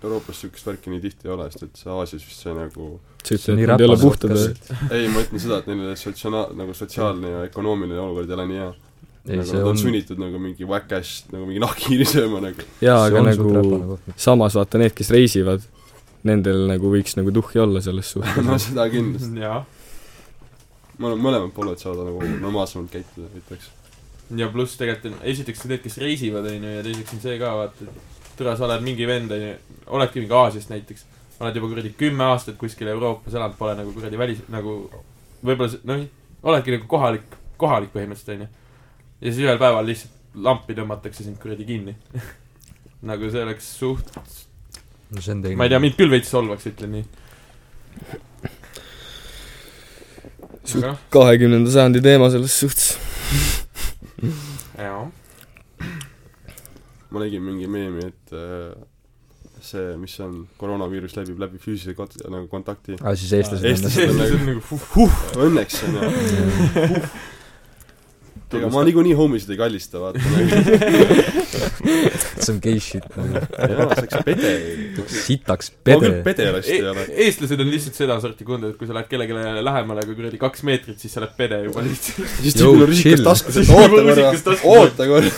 Speaker 6: Euroopas sihukest värki nii tihti ei ole , sest et see Aasias vist see nagu ,
Speaker 7: sa ütled , et nad ei ole puhtad või ??
Speaker 6: ei , ma ütlen seda , et neil sotsiaal- , nagu sotsiaalne ja ökonoomiline olukord ei ole nii hea .
Speaker 5: ei ,
Speaker 6: nagu
Speaker 5: see
Speaker 6: nad on
Speaker 5: on ,
Speaker 6: sunnitud nagu mingi whack-ass , nagu mingi nahkhiiri [laughs] sööma nagu .
Speaker 7: jaa ,
Speaker 5: see
Speaker 7: aga
Speaker 5: on
Speaker 7: nagu
Speaker 5: suht räpane koht .
Speaker 7: samas vaata need , kes reisivad , nendel nagu võiks nagu tuhhi olla selles
Speaker 6: no
Speaker 7: suhtes .
Speaker 6: seda kindlasti .
Speaker 4: jaa .
Speaker 6: ma arvan , mõlemad pooled saavad nagu normaalsemalt käituda , ütleks .
Speaker 4: ja pluss tegelikult on , esiteks need , kes reisivad , onju , ja teiseks on see ka , vaata , et türa , sa oled mingi vend , onju , oledki mingi Aasiast näiteks , oled juba kuradi kümme aastat kuskil Euroopas elanud , pole nagu kuradi välis , nagu võib-olla see- noh , oledki nagu kohalik , kohalik põhimõtteliselt , onju . ja siis ühel päeval lihtsalt lampi tõmmatakse sind kuradi kinni . [laughs] nagu see oleks suht ,
Speaker 5: no see on teine .
Speaker 4: ma ei tea ,. mind küll veits solvaks , ütlen nii .
Speaker 7: Suht-
Speaker 4: aga noh ,
Speaker 7: kahekümnenda sajandi teema selles suhtes .
Speaker 4: jaa ,
Speaker 6: ma nägin mingi meemi , et äh, see , mis on , koroonaviirus läbib läbi füüsilise kot- , nagu kontakti .
Speaker 5: aa , Ah, siis eestlased on
Speaker 6: Eestis
Speaker 5: hästi .
Speaker 6: on
Speaker 4: see
Speaker 6: nagu
Speaker 4: on nagu fuh ,
Speaker 6: õnneks on ju . [laughs] ega ma niikuinii homisid ei kallista ,
Speaker 5: [laughs]
Speaker 6: vaata .
Speaker 5: see on gay shit nagu .
Speaker 6: jaa , see oleks pede .
Speaker 5: sitaks
Speaker 6: ma küll
Speaker 5: pede .
Speaker 6: pede last
Speaker 4: E-
Speaker 6: ei [laughs] ole .
Speaker 4: eestlased on lihtsalt sedasorti kunded , et kui sa lähed kellelegi lähemale kui kuradi kaks meetrit , siis sa oled pede juba lihtsalt .
Speaker 6: siis
Speaker 5: Yo,
Speaker 6: tüübil on rusikas
Speaker 5: chill.
Speaker 6: taskus , et
Speaker 4: Siis
Speaker 6: oota
Speaker 4: mul
Speaker 6: korra
Speaker 4: rusikas , taskus on.
Speaker 6: oota korra .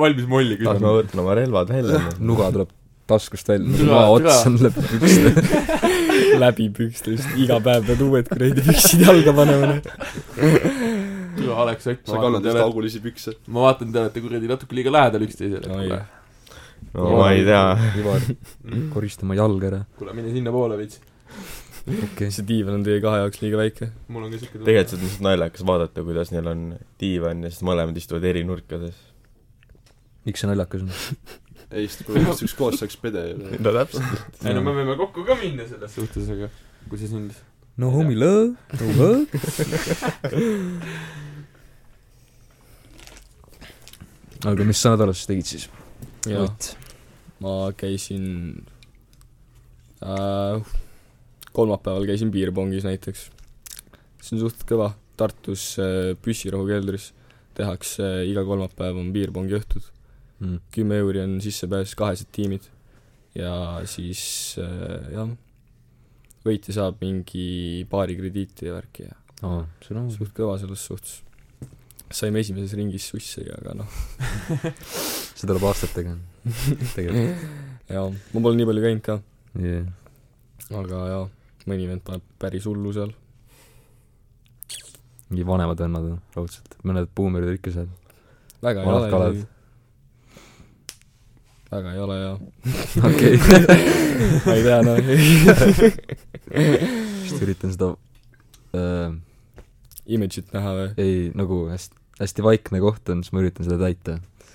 Speaker 4: valmis molli
Speaker 8: las ma
Speaker 4: küsima .
Speaker 8: võtan oma relvad välja .
Speaker 4: [laughs]
Speaker 5: nuga tuleb taskust välja ,
Speaker 4: Türa,
Speaker 5: noa
Speaker 4: türa.
Speaker 5: ots on läbi pükste .
Speaker 7: läbi pükstest , iga päev pead uued kuradi püksid jalga panema . noh.
Speaker 4: tule Alex Ott ,
Speaker 6: sa
Speaker 4: ma
Speaker 6: kannad just
Speaker 4: vaatan , te olete ,
Speaker 6: augulisi pükse .
Speaker 4: ma vaatan , te olete kuradi natuke liiga lähedal üksteisele .
Speaker 8: no ma ei tea .
Speaker 5: Ivar , korista oma jalg ära .
Speaker 4: kuule , mine sinnapoole veits .
Speaker 5: okei
Speaker 7: see diivan on teie kahe jaoks liiga väike .
Speaker 4: mul on ka siuke
Speaker 8: tegelikult see on lihtsalt naljakas vaadata , kuidas neil on diivan ja siis mõlemad istuvad eri nurkades .
Speaker 5: miks see naljakas on
Speaker 6: ei , siis [laughs] kui istuks koos , saaks pede ju .
Speaker 8: no täpselt .
Speaker 4: ei no me võime kokku ka minna selles suhtes , aga kui see sind
Speaker 5: no homie love [laughs] no hug aga mis sa nädalas tegid siis
Speaker 7: jaa , ma käisin äh, , kolmapäeval käisin piirpongis näiteks . see on suht kõva , Tartus äh, Püssirohu keldris tehakse äh, iga kolmapäev on piirpongiõhtud .
Speaker 5: mm.
Speaker 7: kümme euri on sissepääs , kahesed tiimid ja siis äh, jah , võitja saab mingi paari krediiti ja värki ja
Speaker 5: aa see on aus
Speaker 7: suht kõva selles suhtes . saime esimeses ringis sussi , aga noh ,
Speaker 5: see tuleb aastatega tegelikult
Speaker 7: jaa , ma pole nii palju käinud ka ,
Speaker 5: jah
Speaker 7: aga jaa , mõni vend paneb päris hullu seal .
Speaker 5: mingi vanemad vennad on raudselt mõned buumerid on ikka seal
Speaker 7: väga ei
Speaker 5: Vanad
Speaker 7: ole
Speaker 5: kalad.
Speaker 7: isegi . väga ei ole jaa .
Speaker 5: [laughs] okei
Speaker 7: ma ei tea , noh ,
Speaker 5: just üritan seda äh,
Speaker 7: image'it näha või ?
Speaker 5: ei nagu hästi hästi vaikne koht on siis ma üritan seda täita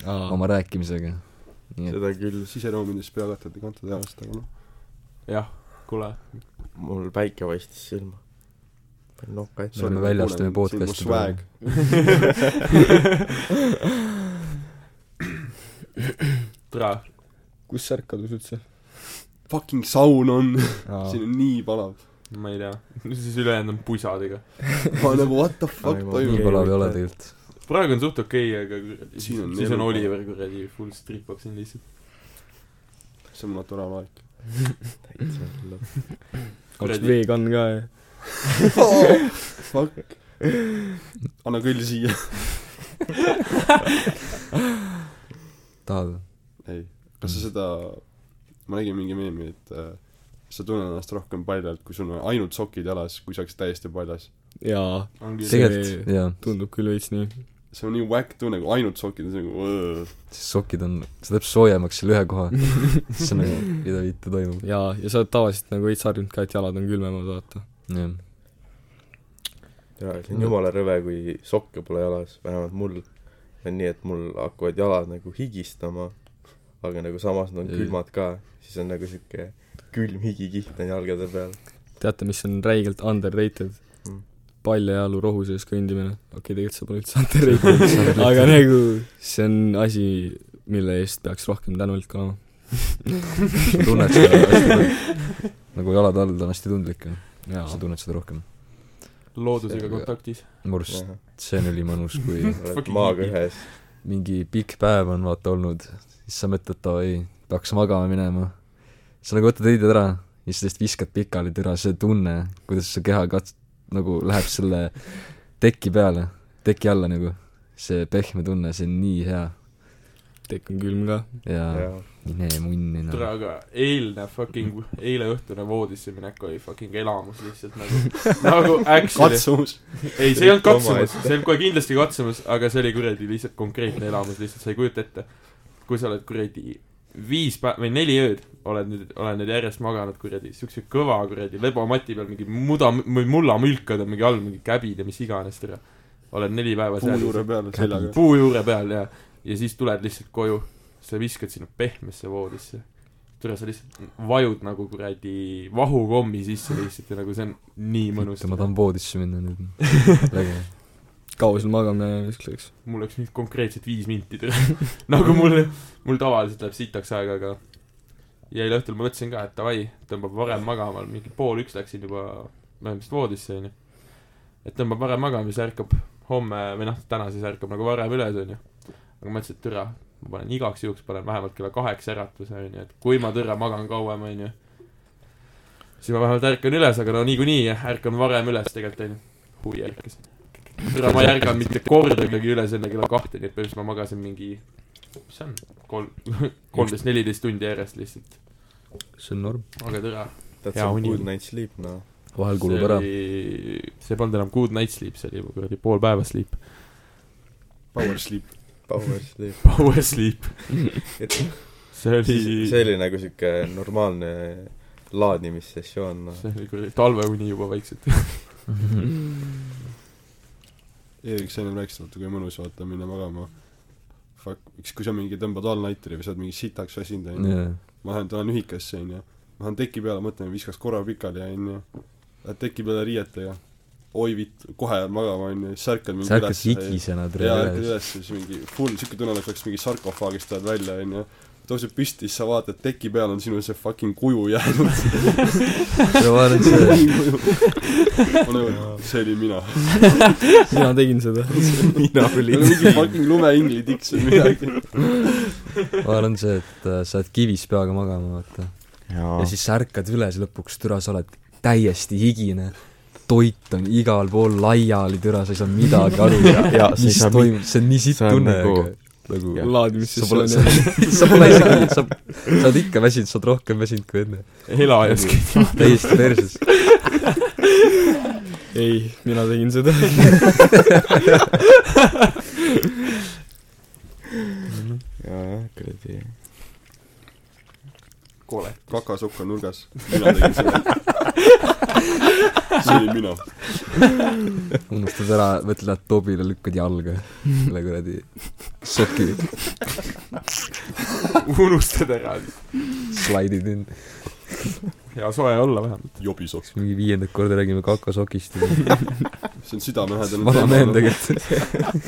Speaker 7: aa ,
Speaker 5: oma rääkimisega nii et
Speaker 6: seda küll siseruumides pea kattede kantud ajast , aga noh .
Speaker 4: jah , kuule ,
Speaker 8: mul päike paistis silma . panin nokka ette .
Speaker 5: me väljas teeme podcast'i
Speaker 6: swag .
Speaker 4: [laughs] tere ,
Speaker 7: kus särk kadus üldse ?
Speaker 6: Fucking saun on , [laughs] siin
Speaker 7: aa ,
Speaker 6: on nii palav .
Speaker 4: ma ei tea , siis ülejäänud on pusadega .
Speaker 6: ma olen nagu what the fuck
Speaker 8: Aivar.
Speaker 5: nii
Speaker 6: toimub .
Speaker 5: palav ei ole tegelikult
Speaker 4: praegu on suht okei okay, , aga siis
Speaker 6: Siin on
Speaker 4: siis on
Speaker 6: elu.
Speaker 4: Oliver kuradi full stripab siin lihtsalt .
Speaker 6: see on naturaalaeg .
Speaker 7: oleks
Speaker 4: kuradi-
Speaker 7: vegan ka ju .
Speaker 6: Fuck . anna küll siia . [laughs]
Speaker 5: tahad või?
Speaker 6: ei , kas
Speaker 7: Mm.
Speaker 6: sa seda , ma nägin mingi meemi , et äh, sa tunned ennast rohkem paljalt , kui sul on ainult sokid jalas , kui sa oleks täiesti paljas .
Speaker 7: jaa ,
Speaker 4: ongi see ,
Speaker 5: tegelikult jaa
Speaker 7: tundub küll veits nii .
Speaker 6: see on nii whack tunne , kui ainult sokid , see on nagu
Speaker 5: siis sokid on see teeb soojemaks selle ühe
Speaker 7: [laughs]
Speaker 5: koha siis on nagu mida vittu toimub
Speaker 7: jaa , ja sa oled tavaliselt nagu veits harjunud ka , et jalad on külmemad , vaata .
Speaker 5: jah
Speaker 8: jaa , see on jumala rõve , kui sokke pole jalas , vähemalt mul on nii , et mul hakkavad jalad nagu higistama , aga nagu samas nad on
Speaker 5: Ei.
Speaker 8: külmad ka , siis on nagu sihuke külm higikiht on jalgade peal .
Speaker 7: teate , mis on räigelt underrated
Speaker 8: Mm.
Speaker 7: mm. ? paljajalu rohu sees kõndimine . okei okay, , tegelikult see pole üldse underrated , aga nagu see on asi , mille eest peaks rohkem tänulik olema .
Speaker 5: sa [laughs] tunned seda hästi palju. nagu jalad all ta on hästi tundlik ju
Speaker 7: jaa
Speaker 5: sa , tunned seda rohkem
Speaker 4: loodusega kontaktis .
Speaker 5: mu arust see on ülimõnus
Speaker 7: [laughs]
Speaker 5: kui
Speaker 8: oled
Speaker 4: Fucking
Speaker 8: maaga
Speaker 4: hihi.
Speaker 8: ühes ,
Speaker 5: mingi pikk päev on vaata olnud , siis sa mõtled , et aa ei , peaks magama minema . sa nagu võtad riided ära ja siis lihtsalt viskad pikali türa , see tunne , kuidas su keha kats- , nagu läheb selle teki peale , teki alla nagu . see pehme tunne , see on nii hea
Speaker 7: tekk on külm ka .
Speaker 5: ja
Speaker 8: jaa .
Speaker 5: mine munni
Speaker 4: tere ,
Speaker 5: noh .
Speaker 4: aga eilne fucking , eileõhtune voodisse minek oli fucking elamus lihtsalt nagu , nagu actually ,
Speaker 6: katsumus .
Speaker 4: ei , see ei olnud katsumus ,
Speaker 8: Omaette.
Speaker 4: see ei olnud kohe kindlasti katsumus , aga see oli kuradi lihtsalt konkreetne elamus , lihtsalt sa ei kujuta ette . kui sa oled kuradi viis päeva või neli ööd oled nüüd , olen nüüd järjest maganud kuradi siukse kõva kuradi lebamati peal mingi muda või mullamülkad on mingi all , mingi käbid ja mis iganes tere . oled neli päeva
Speaker 6: puu
Speaker 4: seal ,
Speaker 6: juure peal seljaga .
Speaker 4: puu juure peal ja , ja siis tuled lihtsalt koju , sa viskad sinna pehmesse voodisse tere , sa lihtsalt vajud nagu kuradi vahukommi sisse lihtsalt ja nagu see on nii mõnus .
Speaker 5: ma tahan voodisse minna
Speaker 7: [laughs]
Speaker 5: nüüd . väga hea .
Speaker 7: kaua sul magamine keskseks ?
Speaker 4: mul läks nüüd konkreetselt viis minti tööle . [laughs] nagu mul , mul tavaliselt läheb sitaks aega , aga ja eile õhtul ma mõtlesin ka , et davai , tõmbab varem magama , mingi pool üks läksin juba vähemalt voodisse , onju . et tõmbab varem magama , siis ärkab homme või noh , täna siis ärkab nagu varem üles , onju . aga ma mõtlesin , et türa , ma panen igaks juhuks , panen vähemalt kella kaheksa äratuse , onju , et kui ma türa magan kauem , onju , siis ma vähemalt ärkan üles , aga no niikuinii ärkan varem üles tegelikult , onju . huvi ärkas . türa , ma ei ärganud mitte kordagi üles enne kella kahte , nii et põhimõtteliselt ma magasin mingi , mis see on , kolm , [laughs] kolmteist , neliteist tundi järjest lihtsalt .
Speaker 5: see on norm .
Speaker 4: aga türa .
Speaker 8: That's
Speaker 4: Hea
Speaker 8: a
Speaker 4: uni.
Speaker 8: good night's sleep noh .
Speaker 5: vahel kulub ära .
Speaker 4: see ei polnud enam good night sleep , see oli juba kuradi pool päeva sleep . [laughs]
Speaker 6: Power sleep .
Speaker 8: Power sleep .
Speaker 4: Power sleep .
Speaker 8: et
Speaker 4: see
Speaker 8: siis see
Speaker 4: oli ,
Speaker 8: oli nagu sihuke normaalne laadimissessioon , noh .
Speaker 4: see oli kuradi talveuni juba vaikselt .
Speaker 6: Erik , sa ennem rääkisid , vaata kui mõnus , vaata , minna magama . Fuck , eks kui sa mingi tõmbad all nighteri või sa oled mingi sitaks väsinud , onju .
Speaker 5: jaa .
Speaker 6: ma lähen , tulen ühikasse , onju . ma lähen teki peale , mõtlen , viskas korra pikali , onju . Lähed teki peale riietega . oi vitt , kohe jääb magama , onju . siis ärkad mingi
Speaker 5: sa ärkad
Speaker 6: üles .
Speaker 5: higisena
Speaker 6: jaa ,
Speaker 5: tere
Speaker 6: ärkad
Speaker 5: üles .
Speaker 6: üles , siis mingi full , siuke tunne oleks , oleks mingi sarkofaagist tuled välja , onju tõuseb püsti , siis sa vaatad , teki peal on sinu see fucking kuju [laughs] jäänud .
Speaker 5: ma arvan , et see ,
Speaker 6: nagu, see olin mina .
Speaker 7: mina tegin seda .
Speaker 8: mina
Speaker 6: mingi fucking lumeingli tiks või midagi .
Speaker 5: ma arvan , see , et äh, sa jääd kivis peaga magama , vaata . ja siis sa ärkad üles lõpuks , türa , sa oled täiesti higine . toit on igal pool laiali , türa , sa ei saa midagi aru ,
Speaker 8: [laughs] ja sa ei
Speaker 5: mis
Speaker 8: saa mi-
Speaker 5: toimub , see on nii sitt
Speaker 8: see on
Speaker 5: tunne
Speaker 8: nagu-
Speaker 5: aga- nagu sa pole ,
Speaker 7: laadimissessioon
Speaker 5: sa , [laughs] sa pole isegi , sa , sa oled ikka väsinud , sa oled rohkem väsinud kui enne .
Speaker 4: elajas käis .
Speaker 5: täiesti
Speaker 8: [laughs]
Speaker 5: perses .
Speaker 7: ei , mina tegin seda .
Speaker 8: jaa , jah , kuradi .
Speaker 4: kole .
Speaker 6: kakasokk on nurgas . mina tegin seda . see olin mina .
Speaker 5: unustad ära , mõtled , et Tobile lükkad jalga selle kuradi soki ,
Speaker 4: unustad ära .
Speaker 5: slaidid in .
Speaker 4: hea soe olla vähemalt .
Speaker 6: jobisokk .
Speaker 5: siis mingi viiendat korda räägime kakasokist ja
Speaker 6: see on südamelähedane
Speaker 5: vana meem . tegelikult .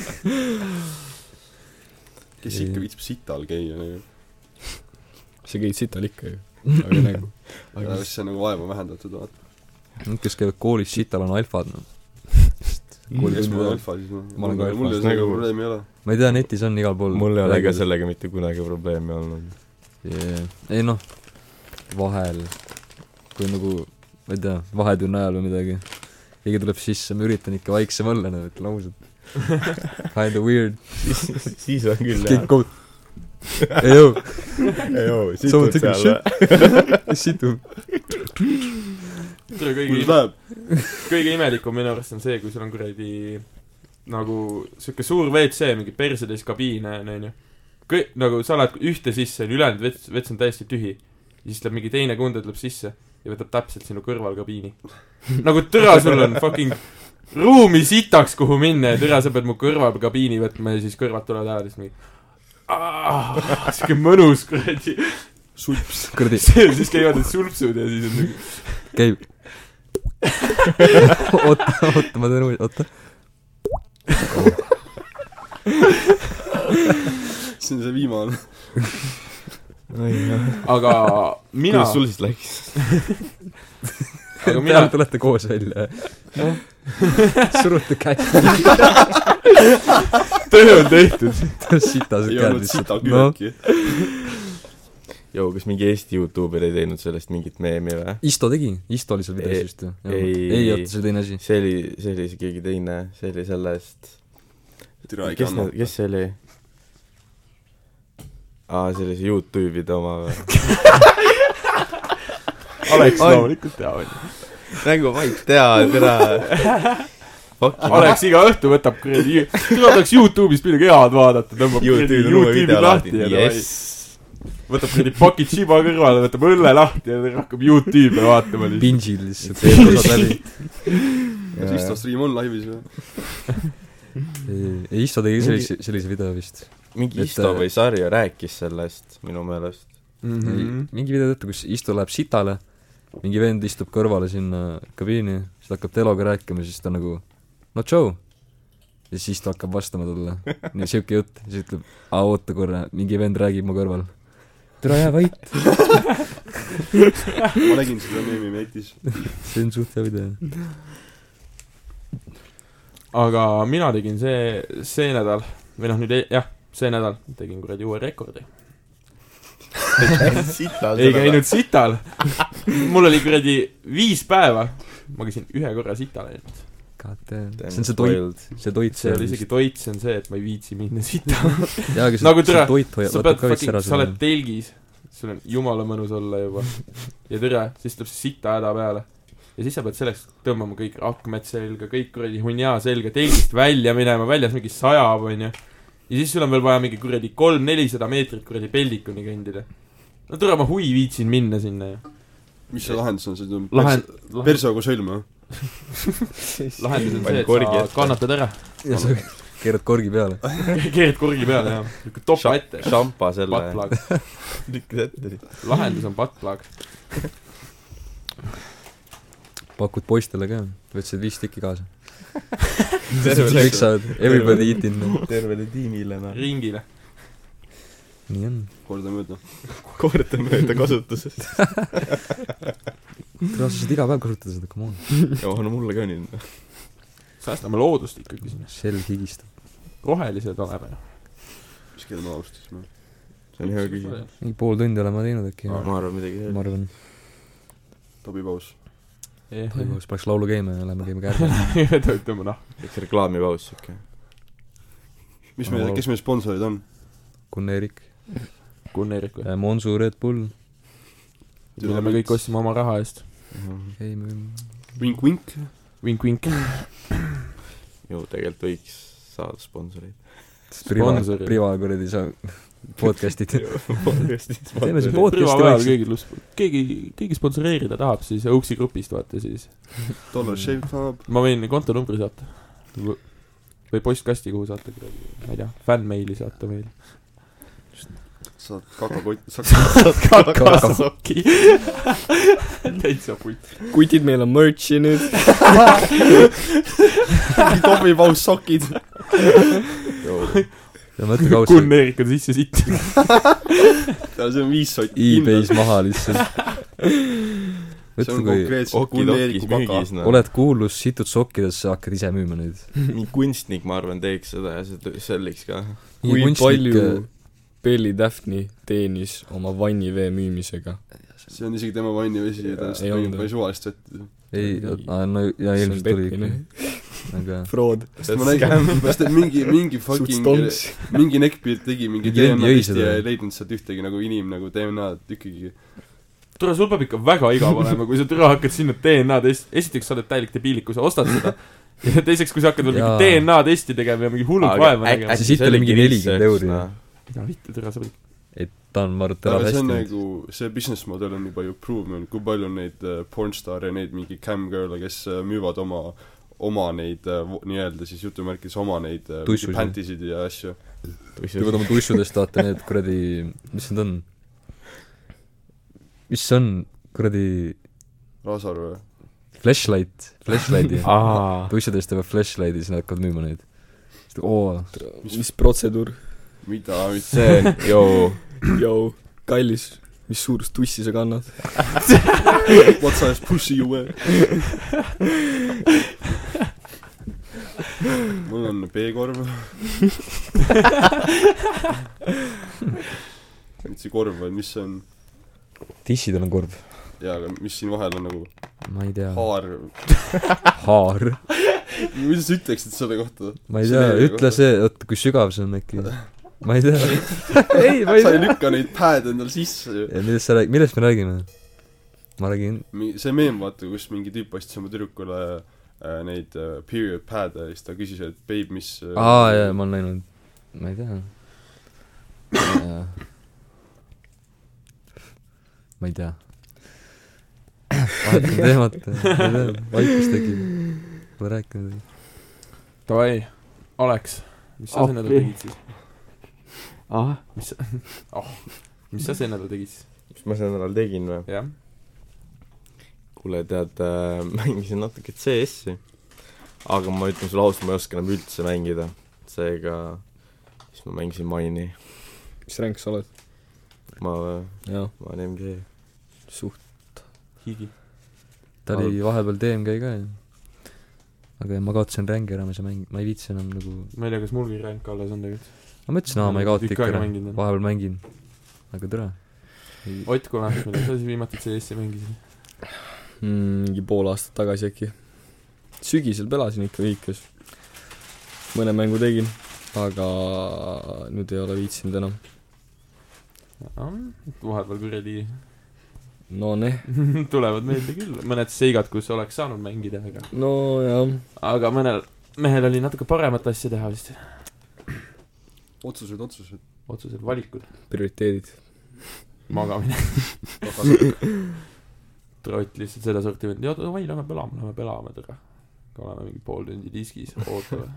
Speaker 6: kes ikka viitsib sital käia nagu .
Speaker 7: sa käid sital
Speaker 6: [laughs]
Speaker 7: ikka ju . aga nagu , aga
Speaker 6: siis see on nagu vaeva vähendatud vaata .
Speaker 5: Need , kes käivad koolis sital , on alfad , noh .
Speaker 6: kes mul on alfa siis
Speaker 5: Ma olen
Speaker 6: noh
Speaker 5: ka .
Speaker 6: mul
Speaker 8: alfa.
Speaker 6: ju seda probleemi ei ole .
Speaker 5: ma ei tea , netis on igal pool .
Speaker 8: mul ei ole ka . sellega mitte kunagi probleemi olnud .
Speaker 5: ei noh , vahel , kui nagu , ma ei tea , vahetunni ajal või midagi , keegi tuleb sisse , ma üritan ikka vaiksem olla , no ütlen ausalt .
Speaker 8: [laughs]
Speaker 5: Kinda weird .
Speaker 8: siis on küll
Speaker 5: kõik kohut- . ei jõu ,
Speaker 8: jaa .
Speaker 5: sa oled siuke shit , [laughs] situ .
Speaker 4: tere
Speaker 6: kuidas
Speaker 4: kõigile .
Speaker 6: läheb ?
Speaker 4: kõige imelikum minu arust on see , kui sul on kuradi nagu sihuke suur WC , mingi perse täis kabiine on , onju . kõi- , nagu sa lähed ühte sisse , ülejäänud vets , vets on täiesti tühi . ja siis tuleb mingi teine kunde tuleb sisse ja võtab täpselt sinu kõrval kabiini . nagu türa , sul on fucking ruumi sitaks , kuhu minna ja türa , sa pead mu kõrval kabiini võtma ja siis kõrvad tulevad ära ja siis mingi Ah, siuke mõnus kuradi , [laughs]
Speaker 6: sulps .
Speaker 5: kuradi ,
Speaker 4: siis käivad need sulpsud ja siis on nagu
Speaker 5: käib . oota , oota , ma teen uuesti , oota .
Speaker 6: see on see viimane .
Speaker 4: aga mina
Speaker 8: kuidas sul siis [laughs] läks ?
Speaker 4: aga mina
Speaker 5: peale tulete koos välja . surute käsi ,
Speaker 4: töö on tehtud .
Speaker 5: sitased
Speaker 6: ei
Speaker 5: käed
Speaker 6: olnud
Speaker 5: lihtsalt
Speaker 6: sita .
Speaker 5: noh ,
Speaker 6: külmki .
Speaker 8: Joo , kas mingi Eesti Youtuber ei teinud sellest mingit meemi või ?
Speaker 5: Isto tegi , Isto oli seal videos
Speaker 8: Ei-
Speaker 5: just ju .
Speaker 8: ei-
Speaker 5: ei , oota , see oli teine asi .
Speaker 8: see oli , see oli see keegi teine , see oli sellest ,
Speaker 6: türa ei
Speaker 8: kes
Speaker 6: kanna
Speaker 8: need ,. kes see oli ? aa , see oli see Youtube'ide oma või ?
Speaker 4: Aleks
Speaker 8: On.
Speaker 4: loomulikult teab , onju .
Speaker 8: nagu ma ei tea , tere .
Speaker 4: Aleks iga õhtu võtab kuradi , ta tahaks Youtube'ist midagi head vaadata , tõmbab kuradi
Speaker 8: Youtube'i on uue
Speaker 4: Youtube'i
Speaker 8: video
Speaker 4: lahti
Speaker 8: lahti
Speaker 4: ja , davai.
Speaker 8: jess .
Speaker 4: võtab kuradi paki tšiba kõrvale , võtab õlle lahti ja hakkab Youtube'i vaatama lihtsalt .
Speaker 5: Pinsil lihtsalt , teed osad läbi .
Speaker 6: kas Isto stream on laivis või ?
Speaker 5: ei , Isto tegi sellise , sellise video vist .
Speaker 8: mingi
Speaker 5: Et,
Speaker 8: Isto
Speaker 5: äh,
Speaker 8: või Sarja rääkis sellest minu [laughs] meelest .
Speaker 5: mingi video tõttu , kus Isto läheb sitale , mingi vend istub kõrvale sinna kabiini , siis ta hakkab Teloga rääkima , siis ta nagu no tšau . ja siis ta hakkab vastama talle , nii siuke jutt , siis ütleb , aa oota korra , mingi vend räägib mu kõrval . tule jää vait ,
Speaker 6: ma nägin seda meemi netis .
Speaker 5: see on suht hea video .
Speaker 4: aga mina tegin see , see nädal või noh , nüüd ei- jah , see nädal tegin kuradi uue rekordi . ei
Speaker 8: [laughs]
Speaker 4: käinud sital . mul oli kuradi viis päeva , ma käisin ühe korra sital ainult .
Speaker 5: God damn , see on see toit ,. see toit ,
Speaker 4: see ei ole isegi toit , see on see , et ma ei viitsi minna sitale .
Speaker 5: jaa , aga
Speaker 4: Nagu
Speaker 5: see, see
Speaker 4: tere,
Speaker 5: toit hoiab ,
Speaker 4: sa
Speaker 5: võtab
Speaker 4: pead
Speaker 5: ka vist
Speaker 4: fucking
Speaker 5: ära ,
Speaker 4: sa
Speaker 5: selle
Speaker 4: oled . telgis , sul on jumala mõnus olla juba ja tere , siis tuleb see sita häda peale . ja siis sa pead selleks tõmbama kõik akmed selga , kõik kuradi hunnia selga , telgist välja minema , väljas mingi sajab , onju . ja siis sul on veel vaja mingi kuradi kolm-nelisada meetrit kuradi peldikuni kõndida . no tere , ma huvi viitsin minna sinna ju .
Speaker 6: mis see lahendus on , see tuleb
Speaker 4: lahend
Speaker 6: Lahend... , persoga sõlme .
Speaker 4: lahendus on see ,
Speaker 8: Palju korgi
Speaker 4: et
Speaker 8: ette.
Speaker 4: sa kannatad ära . [laughs]
Speaker 5: ja sa keerad korgi peale .
Speaker 4: keerad kurgi peale , jah . niisugune topa ette .
Speaker 8: šampa [laughs] selle
Speaker 4: Buttplug .
Speaker 8: lükkas ette siit .
Speaker 4: lahendus on buttplug .
Speaker 5: pakud poistele ka , võtsid viis tükki kaasa . kõik saavad , everybody eat in .
Speaker 8: tervele tiimile noh .
Speaker 4: ringile .
Speaker 5: nii on .
Speaker 6: kordamööda .
Speaker 8: kordamööda kasutusest .
Speaker 5: kuule , sa saad iga päev kasutada seda , come on .
Speaker 8: oh no mulle ka nüüd .
Speaker 4: säästame loodust ikkagi siin .
Speaker 5: selg higistab .
Speaker 4: rohelised oleme ju .
Speaker 6: mis kell me alustasime ?
Speaker 8: see on hea küsimus .
Speaker 5: mingi pool tundi oleme teinud äkki .
Speaker 8: ma arvan midagi
Speaker 5: ma arvan ,
Speaker 6: tobipaus .
Speaker 4: [laughs]
Speaker 5: toimus , paneks laulu käima ja lähme käime [laughs] kärbe .
Speaker 4: tõmbame nahku .
Speaker 8: sellist . üks reklaamipaus siuke .
Speaker 6: mis meil , kes meil sponsorid on ?
Speaker 5: Kun-Erik ,
Speaker 4: Gunn-Erik või ?
Speaker 5: äh, Monsu Red Bull .
Speaker 4: me peame kõik ostma oma raha eest .
Speaker 5: ei , me võime
Speaker 6: Vink-vink .
Speaker 4: Vink-vink .
Speaker 8: ju tegelikult võiks saada sponsoreid .
Speaker 5: priva ,
Speaker 4: Sponsorid.
Speaker 5: priva kuradi sa- , [laughs] podcast'id . teeme siin
Speaker 8: teeme
Speaker 5: podcast'i vaikselt .
Speaker 4: keegi , keegi , keegi sponsoreerida tahab , siis Õuksi grupist vaata siis .
Speaker 6: Dollar Shave Club .
Speaker 4: ma võin kontonumbri saata . või postkasti , kuhu saata kuradi , ma ei tea , fännmeili saata meil .
Speaker 6: saad kakakott ,
Speaker 5: [laughs]
Speaker 6: saad
Speaker 4: kakasokki . [laughs] täitsa putt .
Speaker 7: kutid , meil on merch'i nüüd .
Speaker 6: tobipaus sokid .
Speaker 5: mõtle kaudselt ,
Speaker 4: Gunn-Erik on sisse sittinud .
Speaker 6: see on viis sotti .
Speaker 5: e-base maha [laughs] lihtsalt .
Speaker 6: see on
Speaker 5: mõtle , kui
Speaker 6: konkreetselt
Speaker 8: Oki-dokis
Speaker 6: Gunn-Eriku kaka .
Speaker 8: müügis noh .
Speaker 5: oled kuulus , situd sokkidesse , hakkad ise müüma neid .
Speaker 8: mingi kunstnik , ma arvan , teeks seda ja see tõ- selliks ka .
Speaker 7: kui palju Belly Daphne teenis oma vannivee müümisega ?
Speaker 6: see on isegi tema vannivesi ja ta
Speaker 7: Ei
Speaker 6: lihtsalt
Speaker 7: olnud.
Speaker 6: mängib päris suvalist vett .
Speaker 5: ei , no ja ilmselt oli ikka , aga
Speaker 7: fraud .
Speaker 6: sest ma nägin , sest et mingi , mingi fucking , mingi neckbeard tegi mingi
Speaker 5: Mingi vend
Speaker 6: DNA
Speaker 5: jõi
Speaker 6: testi
Speaker 5: seda.
Speaker 6: ja ei leidnud sealt ühtegi nagu inim- nagu DNA-d ikkagi .
Speaker 4: tule , sul peab ikka väga igav olema , kui sa türa hakkad sinna DNA test , esiteks sa oled täielik debiilik , kui sa ostad seda , ja teiseks , kui sa hakkad veel
Speaker 5: Jaa.
Speaker 4: mingi DNA testi tegema ja mingi hullult vaeva nägema .
Speaker 5: äkki- siit oli mingi 40 euri.
Speaker 4: no vittu , türa , sa pead
Speaker 5: et ta on , ma arvan , et ta
Speaker 6: aga
Speaker 5: elab
Speaker 6: see on
Speaker 5: hästi .
Speaker 6: nagu , see business model on juba ju proven , kui palju on neid äh, pornstaare ja neid mingi camgirl'e , kes äh, müüvad oma , oma neid äh, vo- nii-öelda siis jutumärkides oma neid äh, mingi
Speaker 5: Tussusid.
Speaker 6: pantisid ja asju .
Speaker 5: tulevad oma tussudest , vaata need kuradi , mis need on ? mis see on , kuradi
Speaker 6: Rasar või ?
Speaker 5: flashlight , flashlight'i .
Speaker 4: Ah.
Speaker 7: aa .
Speaker 5: tussudest teevad flashlight'i , siis nad hakkavad müüma neid . oo ,
Speaker 7: mis protseduur ?
Speaker 6: mida , mida ?
Speaker 8: see on , joo .
Speaker 7: Jou , kallis , mis suurust tussi sa
Speaker 6: [laughs]
Speaker 7: kannad ?
Speaker 6: What size pussy you wear ? mul on
Speaker 7: [laughs]
Speaker 6: B-korv . mitte see korv , vaid mis see on ,
Speaker 5: tissidel on kurb .
Speaker 6: jaa , aga mis siin vahel on nagu
Speaker 5: ma ei tea ,
Speaker 6: haar
Speaker 5: haar .
Speaker 6: mida sa ütleksid selle kohta ?
Speaker 5: ma ei tea , ütle . see , oota , kui sügav see on äkki . ma ei tea . ei , ma ei
Speaker 6: sa ei
Speaker 5: tea .
Speaker 6: lükka neid päed endale sisse ju .
Speaker 5: millest sa räägid , millest me räägime ? ma räägin ,
Speaker 6: see meem , vaata , kus mingi tüüp ostis oma tüdrukule äh, neid äh, period pad'e ja siis ta küsis , et babe , mis äh,
Speaker 5: aa jaa , ma olen näinud , ma ei tea . ma ei tea . vahetan teemat , ma ei tea , [laughs] vaikus tekib . Pole rääkinud .
Speaker 4: davai , Aleks , mis sa see nädal
Speaker 8: Appi.
Speaker 4: tegid siis ? mis sa , [laughs] oh , mis sa see nädal tegid siis ?
Speaker 8: mis ma sel nädalal tegin või ?
Speaker 4: jah ,
Speaker 8: kuule , tead äh, , [laughs] mängisin natuke CS-i , aga ma ütlen sulle ausalt , ma ei oska enam üldse mängida , seega siis ma mängisin Mine'i ,
Speaker 7: mis ränk sa oled ?
Speaker 8: ma ,
Speaker 7: jaa ,
Speaker 8: ma olen MG .
Speaker 7: suht .
Speaker 4: higi .
Speaker 5: ta oli vahepeal DMG ka ju . aga jah, ma kaotasin rängi ära , ma ei saa mängida , ma ei viitsi enam nagu ,
Speaker 4: ma ei tea , kas mulgi ränk alles on tegelikult .
Speaker 5: ma mõtlesin , aa ma ei kaota
Speaker 4: Tükk
Speaker 5: ikka
Speaker 4: aega
Speaker 5: ära ,
Speaker 4: mänginud on.
Speaker 5: vahepeal mängin . aga tere .
Speaker 4: Ott , kuule , millal sa siis viimati CS-i mängisid ?
Speaker 7: Hmm, mingi pool aastat tagasi äkki . sügisel pelasin ikka viikas . mõne mängu tegin , aga nüüd ei ole viitsinud enam .
Speaker 4: vahepeal kuradi [laughs]
Speaker 7: no neh ,
Speaker 4: tulevad meelde küll mõned seigad , kus oleks saanud mängida , aga ,
Speaker 7: no jah ,
Speaker 4: aga mõnel mehel oli natuke paremat asja teha vist .
Speaker 6: otsused , otsused .
Speaker 4: otsused , valikud , [laughs]
Speaker 7: prioriteedid .
Speaker 4: magamine . trott lihtsalt sedasorti vend , ja davai , lähme pelame , lähme pelame , tere . oleme mingi pool tundi diskis , [laughs] ootame .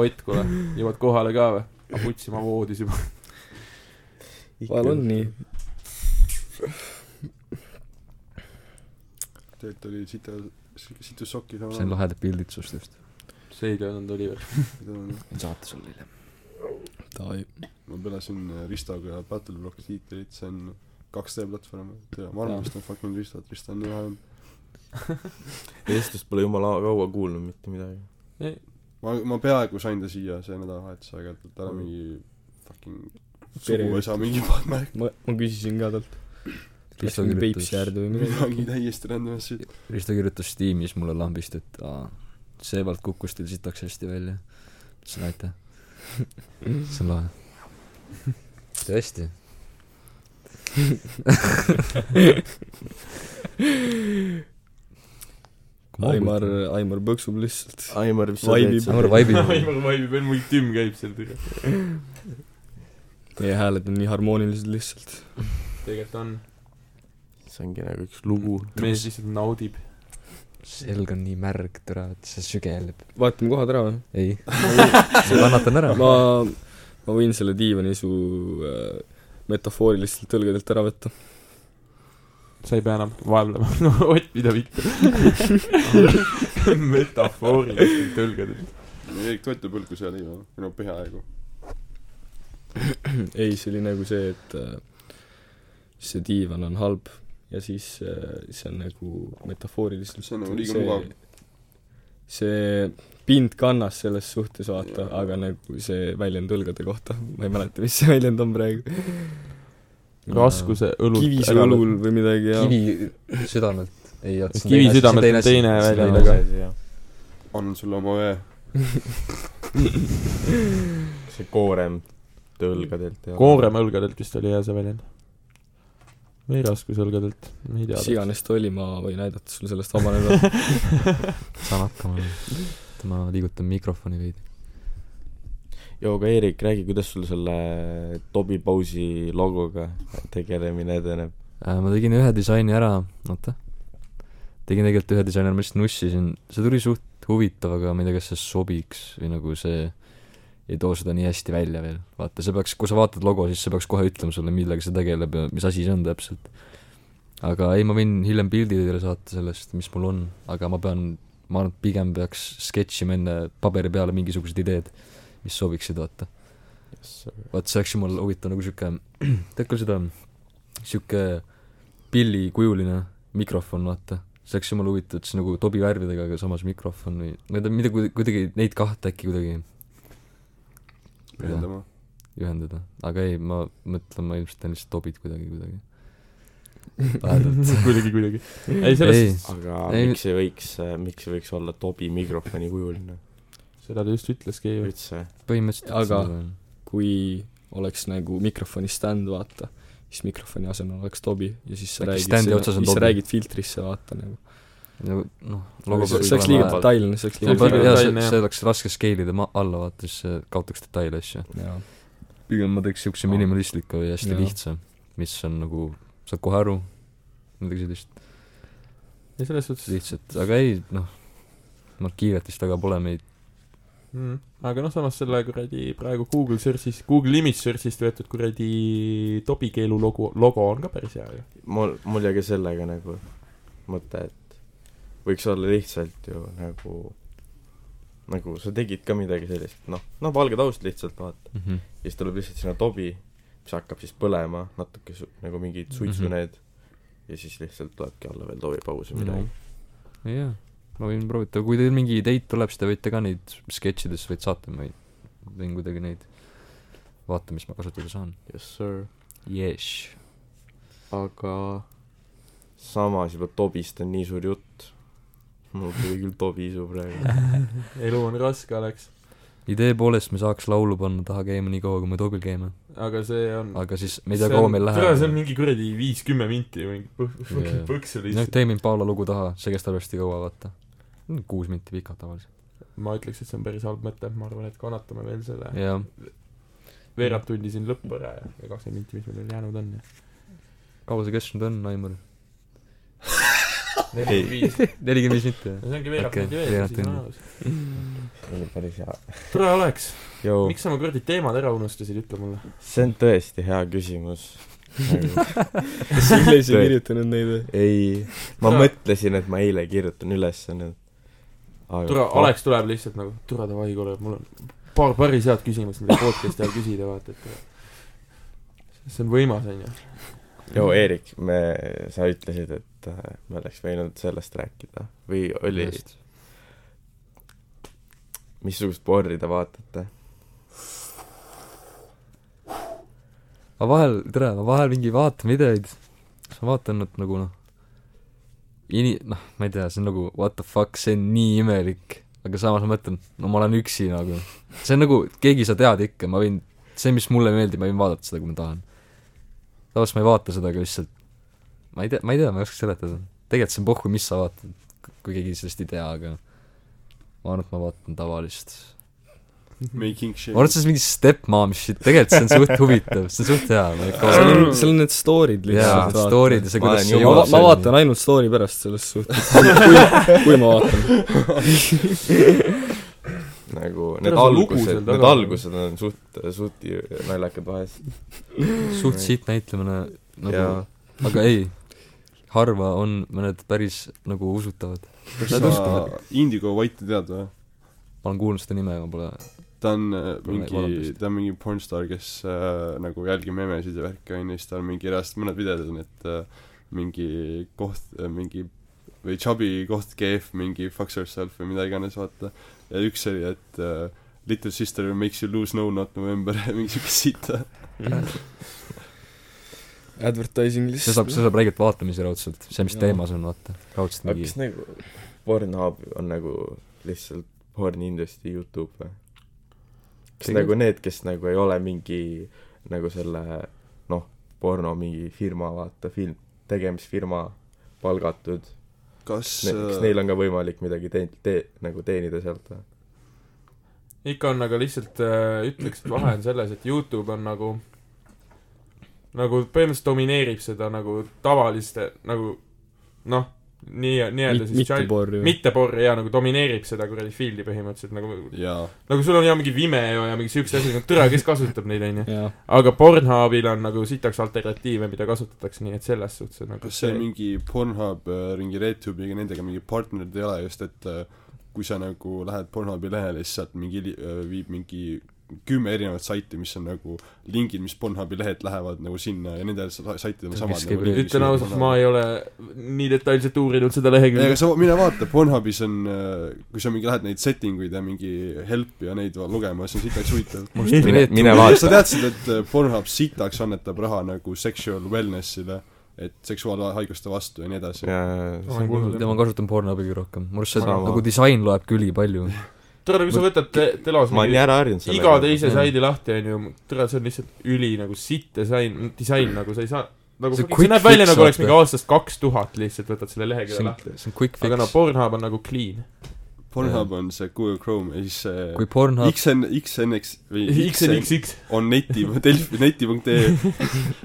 Speaker 4: Ott , kuule , jõuad kohale ka või ? aga putsi , ma voodis juba .
Speaker 7: vahel on nii .
Speaker 6: tegelikult oli sita , situs sokki sama .
Speaker 5: sain lahedad pildid sinust just .
Speaker 4: see ei teadnud [laughs] Oliver .
Speaker 5: saata sulle hiljem .
Speaker 6: ma pelasin äh, Ristoga Battle Block tiitlit , see on 2D platvorm , et ma arvan , vist on fucking Ristot , Risto on nii hea .
Speaker 8: Eestist pole jumala kaua kuulnud mitte midagi .
Speaker 6: ma , ma peaaegu sain ta siia see nädalavahetus , aga ta tal on mingi fucking suguvõsa mingi [laughs] märk ,
Speaker 7: ma , ma küsisin ka talt .
Speaker 5: Risto
Speaker 7: läks mingi
Speaker 5: kirjutas-
Speaker 7: Peipsi äärde või midagi .
Speaker 6: midagi täiesti random shit .
Speaker 5: Risto kirjutas Steamis mulle lambist , et aa , seevalt kukkus teil sitaks hästi välja . ütlesin aitäh . see on lahe . tõesti .
Speaker 7: Aimar , Aimar põksub lihtsalt .
Speaker 8: Aimar , mis sa
Speaker 7: Vaibib.
Speaker 8: teed seal ?
Speaker 5: Aimar
Speaker 4: [laughs]
Speaker 5: vaibib .
Speaker 4: Aivar vaibib , veel mingi tümm käib seal tüdruk .
Speaker 7: Teie hääled on nii harmoonilised lihtsalt .
Speaker 4: tegelikult on .
Speaker 8: see ongi nagu üks lugu .
Speaker 4: mees lihtsalt naudib .
Speaker 5: selg on nii märg , türa , et see sügeleb .
Speaker 7: vaatame kohad ära või ?
Speaker 5: ei , ma kannatan ära .
Speaker 7: ma , ma võin selle diivani su äh, metafoori lihtsalt õlgadelt ära võtta .
Speaker 4: sa ei pea enam vaevlema . [laughs] no Ott , mida [laughs] vittu . metafooriliselt tõlgendad .
Speaker 6: me kõik toitu põlku seal ei joo , no peaaegu .
Speaker 7: ei , see oli nagu see , et äh, see diivan on halb ja siis äh, see on nagu metafooriliselt
Speaker 6: See on nagu liiga mugav. .
Speaker 7: see pind kannas selles suhtes , vaata , aga nagu see väljend õlgade kohta , [laughs] ma ei mäleta , mis see väljend on praegu .
Speaker 4: raskuse õlut .
Speaker 7: kivisu õlul või midagi ja
Speaker 5: kivi südamelt . ei , oot , see on
Speaker 4: Kivi
Speaker 5: teine asi, see on
Speaker 4: südamelt on
Speaker 5: asi,
Speaker 4: teine
Speaker 5: see on
Speaker 4: väljend,
Speaker 5: teine
Speaker 4: aga-
Speaker 5: asi.
Speaker 6: annan sulle oma õe .
Speaker 8: see koorem tõlgadelt ja
Speaker 4: koorema õlgadelt vist oli hea see väljend . või raskuse õlgadelt , ma ei
Speaker 7: mis
Speaker 4: tea .
Speaker 7: iganes ta oli , ma võin aidata sul sellest vabaneda .
Speaker 5: saan hakkama . oota , ma liigutan mikrofoni veidi .
Speaker 8: joo , aga Eerik , räägi , kuidas sul selle Tobi Pausi logoga tegelemine edeneb ?
Speaker 5: Äh, ma tegin ühe disaini ära , oota . tegin tegelikult ühe disaini ära , ma lihtsalt nussisin , see tuli suht huvitav , aga ma ei tea , kas see sobiks või nagu see ei too seda nii hästi välja veel . vaata , see peaks , kui sa vaatad logo , siis see peaks kohe ütlema sulle , millega see tegeleb ja mis asi see on täpselt . aga ei , ma võin hiljem pildi teile saata sellest , mis mul on , aga ma pean , ma arvan , et pigem peaks sketšima enne paberi peale mingisugused ideed , mis sobiksid , vaata . vaat see oleks jumala huvitav nagu siuke tead küll seda siuke pillikujuline mikrofon vaata see oleks jumala huvitav et siis nagu tobi värvidega aga samas mikrofon või ma ei tea mida kuid- kuidagi neid kahte äkki kuidagi
Speaker 6: ühendama .
Speaker 5: ühendada aga ei ma mõtlen ma ilmselt teen lihtsalt tobid kuidagi kuidagi lahedalt
Speaker 4: [laughs] kuidagi , kuidagi . ei ,
Speaker 5: ei
Speaker 4: sellest ,
Speaker 8: aga
Speaker 5: Ei-
Speaker 8: ei, miks ei võiks , miks ei võiks olla Tobi mikrofoni kujuline
Speaker 4: seda ta just ütleski ju .
Speaker 8: üldse ?
Speaker 5: põhimõtteliselt
Speaker 7: Aga-
Speaker 5: seda olen.
Speaker 7: kui oleks nagu mikrofoni stand , vaata , siis mikrofoni asemel oleks tobi ja siis sa
Speaker 5: Äkki
Speaker 7: räägid
Speaker 5: standi otsas on
Speaker 7: siis sa
Speaker 5: tobi?
Speaker 7: räägid filtrisse , vaata nagu .
Speaker 5: nagu noh logo
Speaker 7: see
Speaker 5: peaks
Speaker 7: oleks liiga
Speaker 5: olema-
Speaker 7: detailne , see oleks
Speaker 5: no
Speaker 4: liiga
Speaker 5: peab-
Speaker 7: liiga
Speaker 5: jaa see
Speaker 4: detailne, jah.
Speaker 5: see oleks raske skeilida ma- alla vaata siis see kaotaks detaile asju
Speaker 7: jaa .
Speaker 5: pigem ma teeks siukse minimalistliku ja hästi
Speaker 7: Jaa.
Speaker 5: lihtsa , mis on nagu , saad kohe aru , midagi sellist
Speaker 4: ja selles suhtes ,
Speaker 5: lihtsat , aga ei noh , ma kiiret vist väga pole meid ,
Speaker 4: aga noh , samas selle kuradi praegu Google Search'is , Google Image Search'ist võetud kuradi Tobi keelu logo , logo on ka päris hea ju .
Speaker 8: mul , mul jäi ka sellega nagu mõte , et võiks olla lihtsalt ju nagu , nagu sa tegid ka midagi sellist , noh , noh , valge taust lihtsalt , vaata .
Speaker 5: mm . -hmm.
Speaker 8: ja siis tuleb lihtsalt sinna Tobi , mis hakkab siis põlema natuke su, nagu mingid suitsu
Speaker 5: Mhm.
Speaker 8: need ja siis lihtsalt tulebki alla veel Tobi paus või midagi .
Speaker 5: Mhm. jaa , ma võin proovida , kui teil mingi ideid tuleb , siis te võite ka neid sketšidesse võid saata , ma ei- võin kuidagi neid vaata , mis ma kasutada saan .
Speaker 8: Yes sir .
Speaker 5: Yes .
Speaker 8: aga samas juba Tobist on nii suur jutt . mul tuli küll Tobi isu praegu .
Speaker 4: [laughs] elu on raske , Alex .
Speaker 5: idee poolest me saaks laulu panna taha käima nii kaua , kui me tobil käime ,
Speaker 4: aga see on .
Speaker 5: aga siis me ei tea , kaua meil
Speaker 4: tere , see on
Speaker 5: läheb .
Speaker 4: mingi kuradi viis-kümme minti või mingi põ- mingi
Speaker 5: Jaa.
Speaker 4: põksu
Speaker 5: noh ,
Speaker 4: lihtsalt .
Speaker 5: Damien Paula lugu taha , see kestab hästi kaua , vaata . kuus minti pikalt tavaliselt .
Speaker 4: ma ütleks , et see on päris halb mõte , ma arvan , et kannatame veel selle
Speaker 5: jah
Speaker 4: veerand tundi siin lõppu ära ja ja kakskümmend minti , mis meil veel jäänud on ja
Speaker 5: kaua see kestnud on , Aimar ?
Speaker 4: [laughs] nelikümmend viis .
Speaker 5: [laughs] nelikümmend viis mitte ,
Speaker 4: no see ongi veerand
Speaker 5: Okei,
Speaker 4: tundi veel ,
Speaker 5: veerand
Speaker 4: siis on
Speaker 5: tundi.
Speaker 4: olemas .
Speaker 8: [laughs] oli päris hea .
Speaker 4: tore oleks .
Speaker 8: Jou ,
Speaker 4: miks sa oma kuradi teemad ära unustasid , ütle mulle .
Speaker 8: see on tõesti hea küsimus .
Speaker 4: [laughs]
Speaker 7: kas sa üles ei
Speaker 8: Tõe-
Speaker 7: kirjutanud neid või ?
Speaker 8: ei , ma
Speaker 4: Tore.
Speaker 8: mõtlesin , et ma eile kirjutan üles need .
Speaker 4: tore ,. Alex tuleb lihtsalt nagu , tore davai , kuule , mul on paar päris head küsimust , mida podcast'i ajal küsida , vaata , et äh, see on võimas , onju .
Speaker 8: Jou , Eerik , me , sa ütlesid , et äh, me oleks võinud sellest rääkida või oli , missugust porri te vaatate ?
Speaker 5: ma vahel , tere , ma vahel mingi vaatan videoid , siis ma vaatan nad nagu noh , ini- , noh , ma ei tea , see on nagu what the fuck , see on nii imelik , aga samas ma mõtlen , no ma olen üksi nagu . see on nagu , keegi sa tead ikka , ma võin , see , mis mulle meeldib , ma võin vaadata seda , kui ma tahan . samas ma ei vaata seda , aga lihtsalt ma ei tea , ma ei tea , ma ei oska seletada . tegelikult see on pohhu , mis sa vaatad , kui keegi sellest ei tea , aga ma arvan , et ma vaatan tavalist
Speaker 6: Making shit
Speaker 5: ma . arvan , et see on mingi step-mom shit , tegelikult see on suht huvitav , see on suht hea , ma ikka
Speaker 4: Nagu-
Speaker 7: seal
Speaker 5: vaatan .
Speaker 7: on , seal on need story'd
Speaker 5: jaa ,
Speaker 7: lihtsalt .
Speaker 5: story'd ja see ,
Speaker 8: Ma
Speaker 5: kuidas
Speaker 8: olen
Speaker 5: see
Speaker 8: ju-
Speaker 7: ma,
Speaker 5: jõuab
Speaker 7: va- ma
Speaker 5: selleni.
Speaker 7: vaatan ainult story pärast selles suhtes , kui , kui ma vaatan .
Speaker 8: nagu
Speaker 4: Tere, see
Speaker 8: need
Speaker 4: lugu seal
Speaker 8: algused , need
Speaker 4: taga.
Speaker 8: algused on suht , suht ju naljakad vahest .
Speaker 5: suht siit näitlemine nagu
Speaker 8: Jaa. ,
Speaker 5: aga ei , harva on mõned päris nagu usutavad .
Speaker 6: kas sa Indigo White'i tead või ?
Speaker 5: ma olen kuulnud seda nime , ma pole ,
Speaker 6: ta on äh,
Speaker 5: Pole
Speaker 6: mingi
Speaker 5: vaadanud. ,
Speaker 6: ta on mingi pornstar , kes äh, nagu jälgib memesid ja värki onju , siis tal on mingi reast mõned videod on , et äh, mingi koht äh, , mingi või chubby koht kehv , mingi fuck yourself või mida iganes , vaata . ja üks oli , et äh, Little sister makes you lose no not November , [laughs] mingi siuke sita .
Speaker 7: Advertising
Speaker 5: see saab ,
Speaker 7: lihtsalt .
Speaker 5: see saab räigelt vaatamise raudselt , see , mis
Speaker 7: Jaa.
Speaker 5: teemas on , vaata , raudselt
Speaker 8: aga
Speaker 5: mingi
Speaker 8: kas nagu Pornhub on nagu lihtsalt porn industry Youtube või ? kas
Speaker 5: Tegelikult-
Speaker 8: nagu need , kes nagu ei ole mingi nagu selle noh , porno mingi firma , vaata , film , tegemisfirma palgatud
Speaker 6: kas äh,
Speaker 8: ne, , kas neil on ka võimalik midagi teen- , tee- , nagu teenida sealt või ?
Speaker 4: ikka on , aga lihtsalt äh, ütleks , et vahe on selles , et Youtube on nagu , nagu põhimõtteliselt domineerib seda nagu tavaliste nagu noh , nii , nii-öelda siis
Speaker 7: mitte porri või ?
Speaker 4: mitte porri ja nagu domineerib seda kuradi field'i põhimõtteliselt nagu ,
Speaker 6: jaa ,
Speaker 4: nagu sul on ja mingi Vimeo ja mingi siukseid asju , nagu türa , kes kasutab neid , onju .
Speaker 7: jaa ,
Speaker 4: aga Pornhubil on nagu sitaks alternatiive , mida kasutatakse , nii et selles suhtes on nagu
Speaker 6: kas see mingi Pornhub , äh, mingi RedTube'i ja nendega mingi partnerid ei ole just , et äh, kui sa nagu lähed Pornhubi lehele , siis sealt mingi li- äh, viib mingi kümme erinevat saiti , mis on nagu lingid , mis Pornhubi lehelt lähevad nagu sinna ja nendel sa- saitidel on
Speaker 5: Kes
Speaker 6: samad
Speaker 5: käib
Speaker 6: nagu
Speaker 5: ringi
Speaker 4: ütlen ausalt , ma ei ole nii detailselt uurinud seda lehekülge
Speaker 6: ega . sa , mine vaata , Pornhubis on , kui sa mingi lähed neid setting uid ja mingi help'i ja neid va- lugema , siis on sitaks huvitav .
Speaker 8: mine , mine
Speaker 6: kas sa
Speaker 8: vaata ,
Speaker 6: teadsid , et äh, Pornhub sitaks annetab raha nagu sexual wellness'ile , et seksuaalhaiguste vastu ja nii edasi ?
Speaker 8: jaa ,
Speaker 5: ja ma kasutan Pornhubi kõige rohkem , mul see
Speaker 8: Sama.
Speaker 5: nagu disain loeb külgi palju .
Speaker 4: tore , kui sa võtad te- , telos
Speaker 8: ma olen
Speaker 4: mingi
Speaker 8: nii ära harjunud sellega .
Speaker 4: iga teise
Speaker 5: Jah.
Speaker 4: saidi lahti , onju , tore , see on lihtsalt üli nagu sitt disain , disain nagu sa ei saa nagu
Speaker 5: See
Speaker 4: see, see
Speaker 5: quick
Speaker 4: näeb välja
Speaker 5: fix,
Speaker 4: nagu oleks mingi
Speaker 5: vaata.
Speaker 4: aastast kaks tuhat lihtsalt võtad selle
Speaker 5: see
Speaker 4: lehekülje
Speaker 5: on ,
Speaker 4: lahti .
Speaker 5: see on quick
Speaker 4: aga no
Speaker 5: fix .
Speaker 4: Pornhub on nagu clean .
Speaker 6: Pornhub on see Google Chrome ja siis
Speaker 5: kui
Speaker 6: see
Speaker 5: Pornhub ,
Speaker 6: XN , XNX
Speaker 5: [laughs]
Speaker 6: või XN
Speaker 4: XNXX .
Speaker 6: on neti , Delfi , neti.ee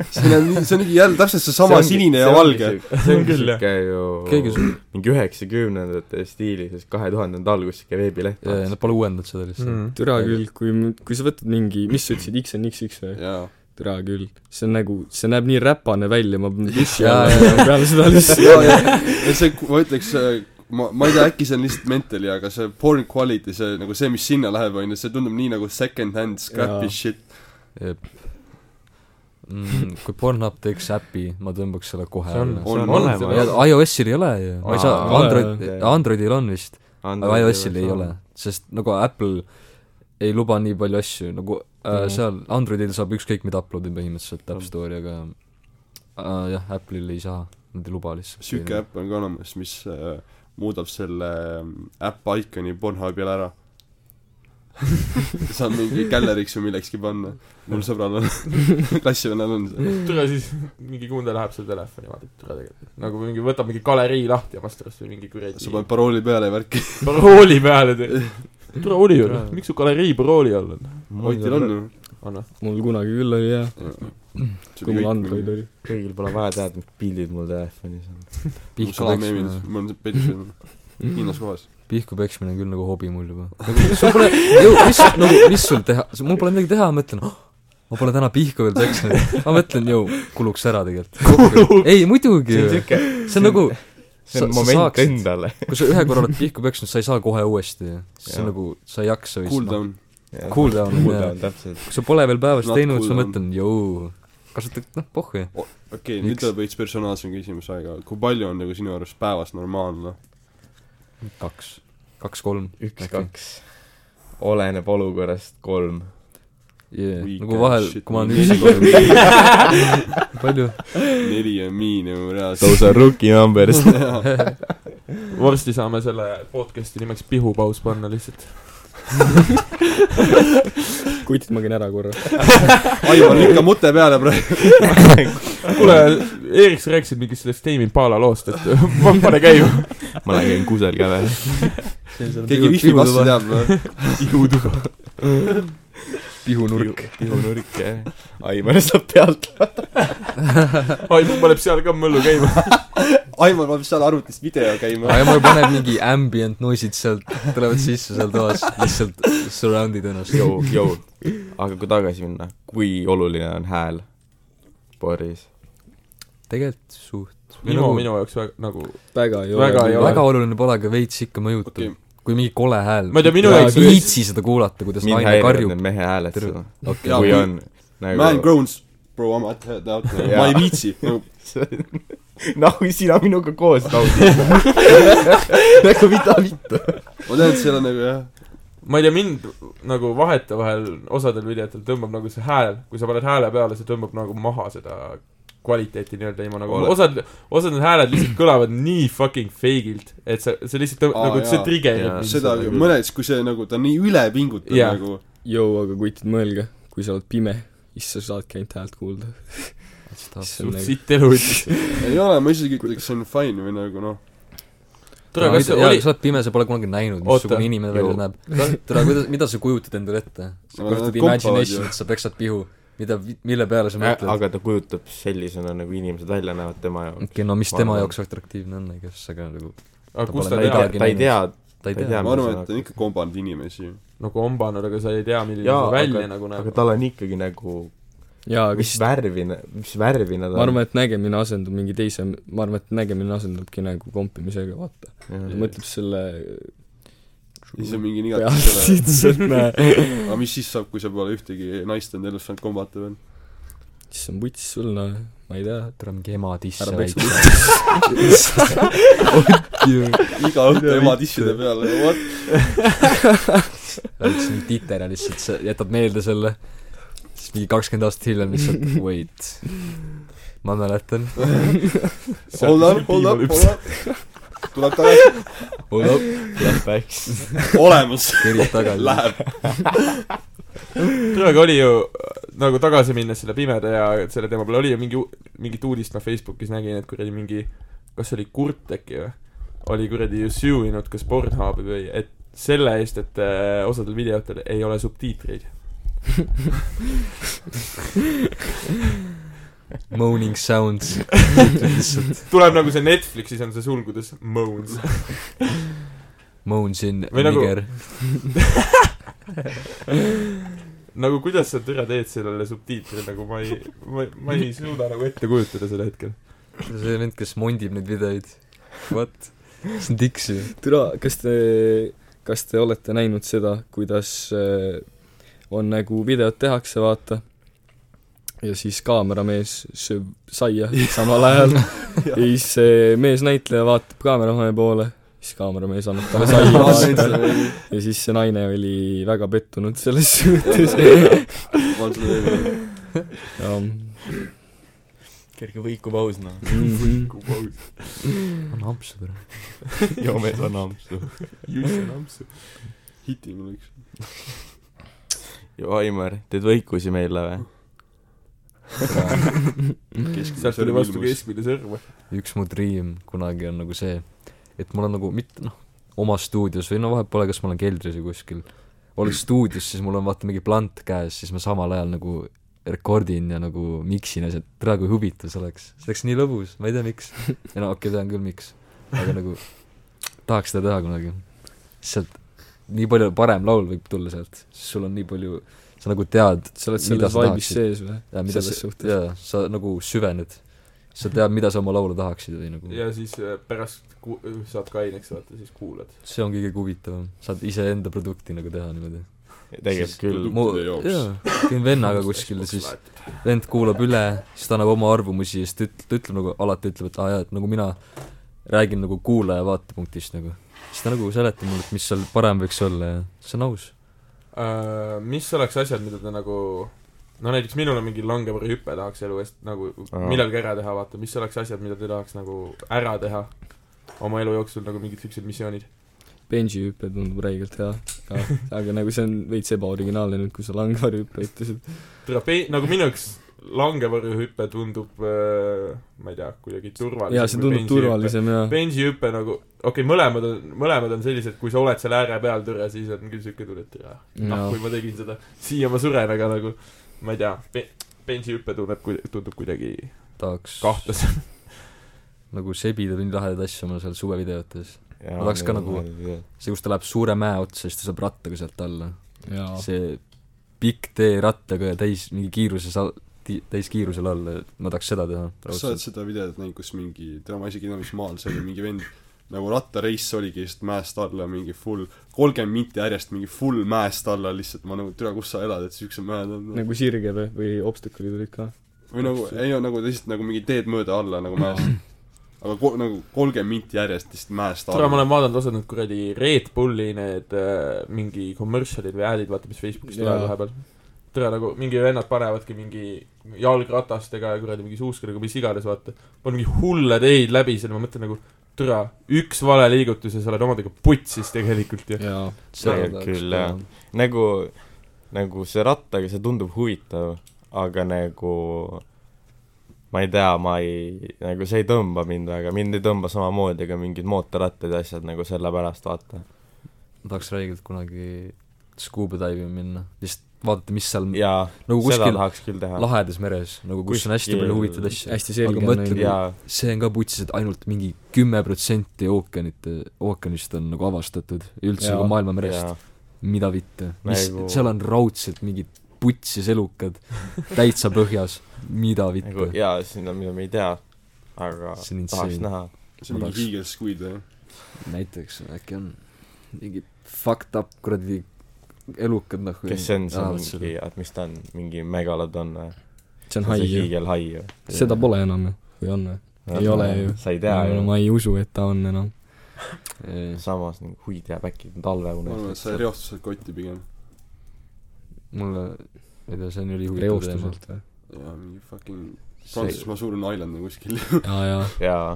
Speaker 6: see on , see on jälle täpselt seesama
Speaker 8: See ongi-
Speaker 6: sinine
Speaker 8: see
Speaker 6: ja
Speaker 8: ongi
Speaker 6: valge .
Speaker 8: siuk- see ongi
Speaker 4: Küll, jah.
Speaker 8: siuke
Speaker 5: keegi
Speaker 8: ju
Speaker 5: sul ,
Speaker 8: mingi üheksakümnendate stiilis , siis kahe tuhandenda alguses siuke veebileht
Speaker 5: nad pole uuendanud seda lihtsalt .
Speaker 7: türa küll , kui , kui sa võtad mingi , mis sa ütlesid , XNXX või ?
Speaker 6: jaa ,
Speaker 7: türa küll , see on nagu , see näeb nii räpane välja ,
Speaker 5: [laughs]
Speaker 7: ma pean duši
Speaker 5: Jaa,
Speaker 7: alla
Speaker 5: jaa, jaa.
Speaker 7: minema peale seda
Speaker 6: jaa ,
Speaker 7: lihtsalt .
Speaker 6: jaa , ja see , ma ütleks , ma , ma ei tea , äkki see on lihtsalt mentally , aga see porn quality , see nagu see , mis sinna läheb , on ju , see tundub nii nagu second-hand
Speaker 7: Jaa.
Speaker 6: scrappy shit .
Speaker 5: jep . Mm, kui Pornhub teeks äpi , ma tõmbaks selle kohe
Speaker 4: see on ,
Speaker 5: alla .
Speaker 4: see on
Speaker 6: On
Speaker 4: olemas
Speaker 5: ja . iOS-il ei ole ju , ma ei saa ,
Speaker 8: Aa,
Speaker 5: Android
Speaker 8: ei ole. ,
Speaker 5: Androidil on vist , aga iOS-il ei ole , sest nagu Apple ei luba nii palju asju , nagu äh,
Speaker 7: Mhm.
Speaker 5: seal Androidil saab ükskõik mida upload'i põhimõtteliselt App Store'i , aga äh, jah , Apple'il ei saa , nad ei luba lihtsalt .
Speaker 6: sihuke äpp on ka olemas , mis äh, muudab selle ähm, äpp iconi Pornhubil ära saab mingi galleriks või millekski panna mul sõbral on [laughs] klassivennal on see
Speaker 4: tule siis , mingi kuundaja läheb selle telefoni , vaatab , tule tegelikult . nagu mingi , võtab mingi galerii lahti ja vastab või mingi
Speaker 6: sa
Speaker 4: kuradi
Speaker 6: paned parooli peale ja värki
Speaker 4: parooli peale
Speaker 6: [laughs]
Speaker 4: teeb . tule oli ju , miks su galerii parooli all on ?
Speaker 6: Otil on ju
Speaker 4: on või ?
Speaker 7: mul kunagi küll oli jaa . kui mul Android oli .
Speaker 8: kõigil pole vaja teada , mis pildid mul telefonis on .
Speaker 5: pihku
Speaker 7: äh.
Speaker 5: peksmine ,
Speaker 6: mul on see petšen Hiinas kohas .
Speaker 5: pihku peksmine on küll nagu hobi mul juba . nagu sul pole , mis , nagu mis sul teha , mul pole midagi teha , ma mõtlen , ma pole täna pihku veel peksnud . ma mõtlen , jõu , kuluks ära tegelikult . ei , muidugi
Speaker 8: see on
Speaker 5: ju .
Speaker 8: siuke ,
Speaker 5: see on nagu ,
Speaker 8: see on
Speaker 5: sa- sa
Speaker 8: moment
Speaker 5: saaksid-
Speaker 8: endale .
Speaker 5: kui sa ühe korra oled pihku peksnud , sa ei saa kohe uuesti ju . see
Speaker 8: Jah.
Speaker 5: on nagu , sa ei jaksa
Speaker 6: Cool
Speaker 5: vist .
Speaker 6: down .
Speaker 5: Cool down,
Speaker 8: cool
Speaker 5: jah.
Speaker 8: down , täpselt .
Speaker 5: kui sa pole veel päevas
Speaker 6: Not
Speaker 5: teinud ,
Speaker 6: cool
Speaker 5: sa
Speaker 6: down.
Speaker 5: mõtled , jõu , kasutad , noh , pohhu ju .
Speaker 6: okei , nüüd
Speaker 5: Miks?
Speaker 6: tuleb veits personaalsem küsimus aega . kui palju on nagu sinu arust päevas normaalne ?
Speaker 5: kaks , kaks-kolm .
Speaker 8: üks , kaks . oleneb olukorrast , kolm .
Speaker 5: Yeah.
Speaker 6: We
Speaker 5: nagu
Speaker 6: can
Speaker 5: vahel
Speaker 6: shit ,
Speaker 5: kui ma olen
Speaker 6: me
Speaker 5: üksi
Speaker 4: [laughs]
Speaker 5: palju
Speaker 6: neli on miinimum
Speaker 8: Those
Speaker 6: reaalselt .
Speaker 8: are rookie numbers .
Speaker 4: varsti saame selle podcast'i nimeks Pihupaus panna lihtsalt .
Speaker 7: kutid ma käin ära korra .
Speaker 6: [laughs] Aivar , lükka mute peale praegu .
Speaker 4: kuule , Erik , sa rääkisid mingist sellest Tame Impala loost , et [laughs] pane käima .
Speaker 8: ma lähen käin kusagil ka veel .
Speaker 6: keegi wifi vastu teab [laughs] või ?
Speaker 7: pihunurk .
Speaker 8: pihunurk , jah . Aivar saab pealt .
Speaker 4: Aivar paneb seal ka möllu käima .
Speaker 6: Aivar paneb seal arvutist video käima .
Speaker 5: Aimar paneb mingi ambient noise'id sealt tulevad sisse seal toas lihtsalt surround'id ennast
Speaker 8: jõu , jõu . aga kui tagasi minna , kui oluline on hääl baaris ?
Speaker 5: tegelikult suht
Speaker 4: minu ,
Speaker 5: Nagu-
Speaker 4: minu jaoks väga, nagu ,
Speaker 7: väga ei
Speaker 4: Väga ei
Speaker 7: ole .
Speaker 4: ole.
Speaker 5: väga oluline pole aga veits ikka mõjutab
Speaker 6: okei
Speaker 5: okay. , kui mingi kole hääl
Speaker 4: Ma ei tea, minu
Speaker 5: Jaa,
Speaker 4: jaoks-
Speaker 5: ei viitsi seda kuulata kuidas
Speaker 8: mind
Speaker 5: naine
Speaker 8: häirivad
Speaker 5: karjub
Speaker 8: need mehe hääled
Speaker 5: Tere.
Speaker 8: seda ,
Speaker 5: okei
Speaker 6: Jaa,
Speaker 8: kui
Speaker 6: kui-
Speaker 8: on
Speaker 6: man
Speaker 8: [laughs] nagu
Speaker 6: groans , bro , I m at head out , ma
Speaker 8: Jaa.
Speaker 6: ei viitsi .
Speaker 8: nahu , sina minuga koos naudid . nagu mida vittu .
Speaker 6: ma tean , et seal on nagu jah ,
Speaker 4: ma ei tea , mind nagu vahetevahel osadel videotel tõmbab nagu see hääl , kui sa paned hääle peale , see tõmbab nagu maha seda kvaliteeti nii-öelda ilma nagu
Speaker 8: Oled-
Speaker 4: osad , osad need hääled lihtsalt kõlavad nii fucking feigilt , et sa , see lihtsalt tõmbab,
Speaker 6: Aa,
Speaker 4: nagu see
Speaker 6: jaa.
Speaker 4: trigerib
Speaker 8: Jaa,
Speaker 4: mind
Speaker 6: seda
Speaker 4: nagu.
Speaker 6: mõnes , kui see nagu , ta on nii üle pingutav
Speaker 4: Jah.
Speaker 6: nagu .
Speaker 7: jõu , aga kutid , mõelge , kui sa oled pime , siis sa saadki ainult häält kuulda .
Speaker 4: suht sitt elu ütles .
Speaker 6: ei ole , ma isegi ütleks , see on fine või nagu noh ,
Speaker 4: tule , kas see oli
Speaker 5: sa , oled pime sa pole kunagi näinud
Speaker 4: Oota,
Speaker 5: missugune inimene
Speaker 4: jõu.
Speaker 5: välja näeb tere kuidas mida sa kujutad endale ette sa
Speaker 6: Nad
Speaker 5: kujutad
Speaker 6: kompavad ju.
Speaker 5: imagination'it sa peksad pihu mida vi- mille peale sa mõtled
Speaker 8: aga ta kujutab sellisena , nagu inimesed välja näevad tema
Speaker 5: okei
Speaker 8: jaoks .
Speaker 5: okay, no mis
Speaker 8: Ma
Speaker 5: tema
Speaker 8: arvan-
Speaker 5: jaoks atraktiivne on I guess aga nagu
Speaker 4: aga
Speaker 5: ta
Speaker 4: kust
Speaker 5: pole
Speaker 4: ta
Speaker 8: ta ei
Speaker 4: teab
Speaker 8: tea
Speaker 5: midagi ,
Speaker 8: ta ei
Speaker 5: näinud.
Speaker 8: tea ,
Speaker 5: ta ei
Speaker 8: Ta ei
Speaker 5: tea
Speaker 8: tea.
Speaker 6: ma arvan , et ta on ikka kombanud inimesi ju .
Speaker 4: no kombanud , Nagu aga sa ei tea , milline
Speaker 8: Jaa,
Speaker 4: see välja
Speaker 8: aga-
Speaker 4: nagu
Speaker 8: aga
Speaker 4: näeb .
Speaker 8: tal on ikkagi nagu ,
Speaker 7: jaa , aga
Speaker 8: mis
Speaker 7: siis
Speaker 8: värvi , mis värvi nad
Speaker 7: ma arvan , et nägemine asendub mingi teise , ma arvan , et nägemine asendubki nagu kompimisega , vaata .
Speaker 8: Jaa.
Speaker 7: mõtleb selle
Speaker 6: siis on mingi
Speaker 7: peale
Speaker 6: nigatus üle .
Speaker 7: lihtsalt , näe .
Speaker 6: aga mis siis saab , kui sa pole ühtegi naist enda elus saanud kombata veel ?
Speaker 7: siis on vuts sul , noh , ma ei tea .
Speaker 5: tere mingi ema tisse
Speaker 7: ära
Speaker 5: väike
Speaker 7: peksa .
Speaker 6: iga õhtu ema tisside peale , what ?
Speaker 5: väikse mingi titera lihtsalt , sa jätad meelde selle , siis mingi kakskümmend aastat hiljem lihtsalt wait . ma mäletan .
Speaker 6: Hold up , hold up , hold up . tuleb tagasi ,
Speaker 5: hold up ,
Speaker 8: läpeks .
Speaker 6: olemas ,
Speaker 5: kerib tagasi .
Speaker 6: läheb .
Speaker 4: tule , aga oli ju nagu tagasi minnes selle pimeda ja selle teema peale , oli ju mingi , mingit uudist ma Facebookis nägin , et kuradi mingi , kas see oli kurt äkki või ? oli kuradi ju süüinud kas Pornhubi või , et selle eest , et äh, osadel videotel ei ole subtiitreid .
Speaker 5: Moaning sounds . lihtsalt
Speaker 4: tuleb nagu see Netflixis on see sulgudes moans .
Speaker 5: moans in
Speaker 4: Või nagu-
Speaker 5: nigger .
Speaker 4: nagu kuidas sa türa teed sellele subtiitrile , nagu ma ei , ma ei , ma ei suuda nagu ette kujutada seda hetkel .
Speaker 5: see vend , kes mondib neid videoid . What ? see on tiks ju .
Speaker 7: türa , kas te , kas te olete näinud seda , kuidas äh, on nagu videot tehakse , vaata , ja siis kaameramees sööb saia samal ajal ja siis see meesnäitleja vaatab kaameramehe poole , siis kaameramees annab talle saia vastu
Speaker 6: ma
Speaker 7: ja siis see naine oli väga pettunud selles
Speaker 6: [laughs]
Speaker 7: suhtes .
Speaker 6: olen seda öelnud .
Speaker 8: kerge võikuv aus , noh .
Speaker 7: Mhm.
Speaker 5: on ampsu tore .
Speaker 8: joomees on ampsu .
Speaker 4: Jussi Nampsu .
Speaker 6: hiti mul üks .
Speaker 8: ju Aimar , teed võikusi meile või ?
Speaker 7: Mhm.
Speaker 4: sealt tuli vastu . keskmine sõrm .
Speaker 5: üks mu dream kunagi on nagu see , et mul on nagu mitte noh , oma stuudios või no vahet pole , kas
Speaker 7: [clears throat]
Speaker 5: ma olen keldris või kuskil , oled stuudios , siis mul on vaata mingi plant käes , siis ma samal ajal nagu rekordin ja nagu miksin ja see , tere kui huvitav see oleks . see oleks nii lõbus , ma ei tea ,
Speaker 7: [laughs]
Speaker 5: miks . ei no okei okay, , tean küll , miks . aga nagu tahaks seda teha kunagi . sealt nii palju parem laul võib tulla sealt , sest sul on nii palju , sa nagu tead ,
Speaker 7: sa oled
Speaker 5: Mida
Speaker 7: selles
Speaker 5: sa
Speaker 7: vaibis
Speaker 5: tahaksid?
Speaker 7: sees või ?
Speaker 5: Ja mida
Speaker 7: selles
Speaker 5: sa
Speaker 7: suhtes. ,
Speaker 5: jaa , sa nagu süvened . sa tead , mida sa oma laulu tahaksid või nagu
Speaker 4: ja siis äh, pärast ku- , saad kaineks vaata , siis kuulad .
Speaker 5: see on kõige huvitavam , saad iseenda produkti nagu teha niimoodi .
Speaker 8: tegelikult küll .
Speaker 5: mu
Speaker 6: Produktide , jaoks.
Speaker 5: jaa , käin vennaga kuskil ja siis vend kuulab üle , siis ta annab oma arvamusi ja siis ta üt- , ta ütleb nagu , alati ütleb , et aa jaa , et nagu mina räägin nagu kuulaja vaatepunktist nagu . siis ta nagu seletab mulle , et mis seal parem võiks olla ja see on aus .
Speaker 4: Äh, mis oleks asjad , mida te nagu no näiteks minul on mingi langevarjuhüpe tahaks elu eest nagu
Speaker 8: Aa.
Speaker 4: millalgi ära teha , vaata , mis oleks asjad , mida te tahaks nagu ära teha oma elu jooksul , nagu mingid siuksed missioonid .
Speaker 7: Benji hüpe tundub räigelt hea , aga , aga nagu see on veits ebaoriginaalne nüüd , kui sa langvari hüppe ütlesid .
Speaker 4: trape- , nagu minu jaoks langevarjuhüpe tundub äh, ma ei tea , kuidagi turvalisem .
Speaker 7: jaa , see tundub . turvalisem ja
Speaker 4: bensihüpe nagu , okei okay, , mõlemad on , mõlemad on sellised , kui sa oled seal ääre peal tõre , siis on küll siuke tunne , et jaa , noh , kui ma tegin seda , siia ma suren , aga nagu ma ei tea be, , bensihüpe tunneb , tundub kuidagi
Speaker 5: tahaks
Speaker 4: kahtlasem .
Speaker 5: nagu sebida nii lahedaid asju oma seal suvevideotes . ma tahaks ka nagu- see , kus ta läheb suure mäe otsa , siis ta saab rattaga sealt alla .
Speaker 7: jaa ,
Speaker 5: see pikk tee rattaga ja täis mingi kiiruses all- , täiskiirusel all , ma tahaks seda teha .
Speaker 6: kas sa oled seda videot näinud , kus mingi , täna ma isegi ei tea , mis maal see oli , mingi vend nagu rattareis oligi just mäest alla mingi full , kolmkümmend minti järjest mingi full mäest alla lihtsalt , ma nagu , türa , kus sa elad , et siukse mäed on nagu,
Speaker 7: nagu sirged või , või obstaklid olid ka .
Speaker 6: või nagu , ei no nagu lihtsalt nagu mingi teed mööda alla nagu mäest . aga ko- , nagu kolmkümmend minti järjest lihtsalt mäest
Speaker 4: tore , ma
Speaker 6: alla .
Speaker 4: olen vaadanud osad need kuradi Red Bulli need äh, mingi commercial'id või ad'id , vaata , mis Facebookis tulevad
Speaker 7: Jaa.
Speaker 4: vahepeal . tere , nagu mingi vennad panevadki mingi jalgratastega ja kuradi mingi suuskadega , mis iganes , vaata . on mingi hulle teid läbi seal , ma mõtlen nagu , tere , üks vale liigutus ja sa oled omadega putsis tegelikult ju .
Speaker 7: jaa ,
Speaker 8: Tegelikult küll, jah. nagu , nagu see rattaga , see tundub huvitav , aga nagu ma ei tea , ma ei , nagu see ei tõmba mind väga , mind ei tõmba samamoodi ka mingid mootorrattad ja asjad nagu sellepärast , vaata .
Speaker 5: ma tahaks räigelt kunagi scuba diving minna , lihtsalt vaadata , mis seal ja,
Speaker 8: jaa ,
Speaker 5: nagu
Speaker 8: seda
Speaker 5: kuskil
Speaker 8: tahaks küll teha .
Speaker 5: lahedas meres , nagu kus on hästi
Speaker 8: Kuskil-
Speaker 5: palju huvitavaid asju .
Speaker 7: hästi selge
Speaker 5: Aga
Speaker 7: on
Speaker 5: mõtle,
Speaker 7: neil
Speaker 5: kui-
Speaker 8: jaa ,
Speaker 5: see on ka putsis , et ainult mingi kümme protsenti ookeanite , ookeanist on nagu avastatud , üldse
Speaker 7: Jaa.
Speaker 5: nagu maailma merest
Speaker 8: jaa .,
Speaker 5: mida vittu , mis
Speaker 8: Nagu-
Speaker 5: nagu... , seal on raudselt mingid putsis elukad täitsa põhjas , mida
Speaker 8: nagu
Speaker 5: vittu .
Speaker 8: jaa , sinna , mida me ei tea , aga
Speaker 5: See on
Speaker 8: tahaks
Speaker 5: insane.
Speaker 8: näha .
Speaker 6: see on mingi
Speaker 5: ma tahaks-
Speaker 6: hiigelskuid või ?
Speaker 5: näiteks äkki on mingi fucked up kuradi elukad noh .
Speaker 8: kes see on , see on mingi , oot , mis ta on , mingi megalodon või ?
Speaker 7: see
Speaker 8: see
Speaker 7: on hai ju .
Speaker 8: hiigelhai ju .
Speaker 7: seda pole enam ju , või on või ? Ei ole ju.
Speaker 8: sa ei tea
Speaker 7: jaa ,
Speaker 8: ju
Speaker 7: no . ma ei usu , et ta on
Speaker 8: [laughs]
Speaker 7: enam .
Speaker 8: samas nagu huvi teab , äkki
Speaker 6: ma arvan , et
Speaker 8: talveunes
Speaker 6: sa . reostused kotti pigem .
Speaker 5: mulle , ma ei tea , see on ülihuvitav teema .
Speaker 7: reostuselt või ?
Speaker 6: jaa , mingi fucking
Speaker 5: see ,
Speaker 6: Prantsusmaa suurune island on kuskil .
Speaker 7: jaa , jaa .
Speaker 8: jaa ,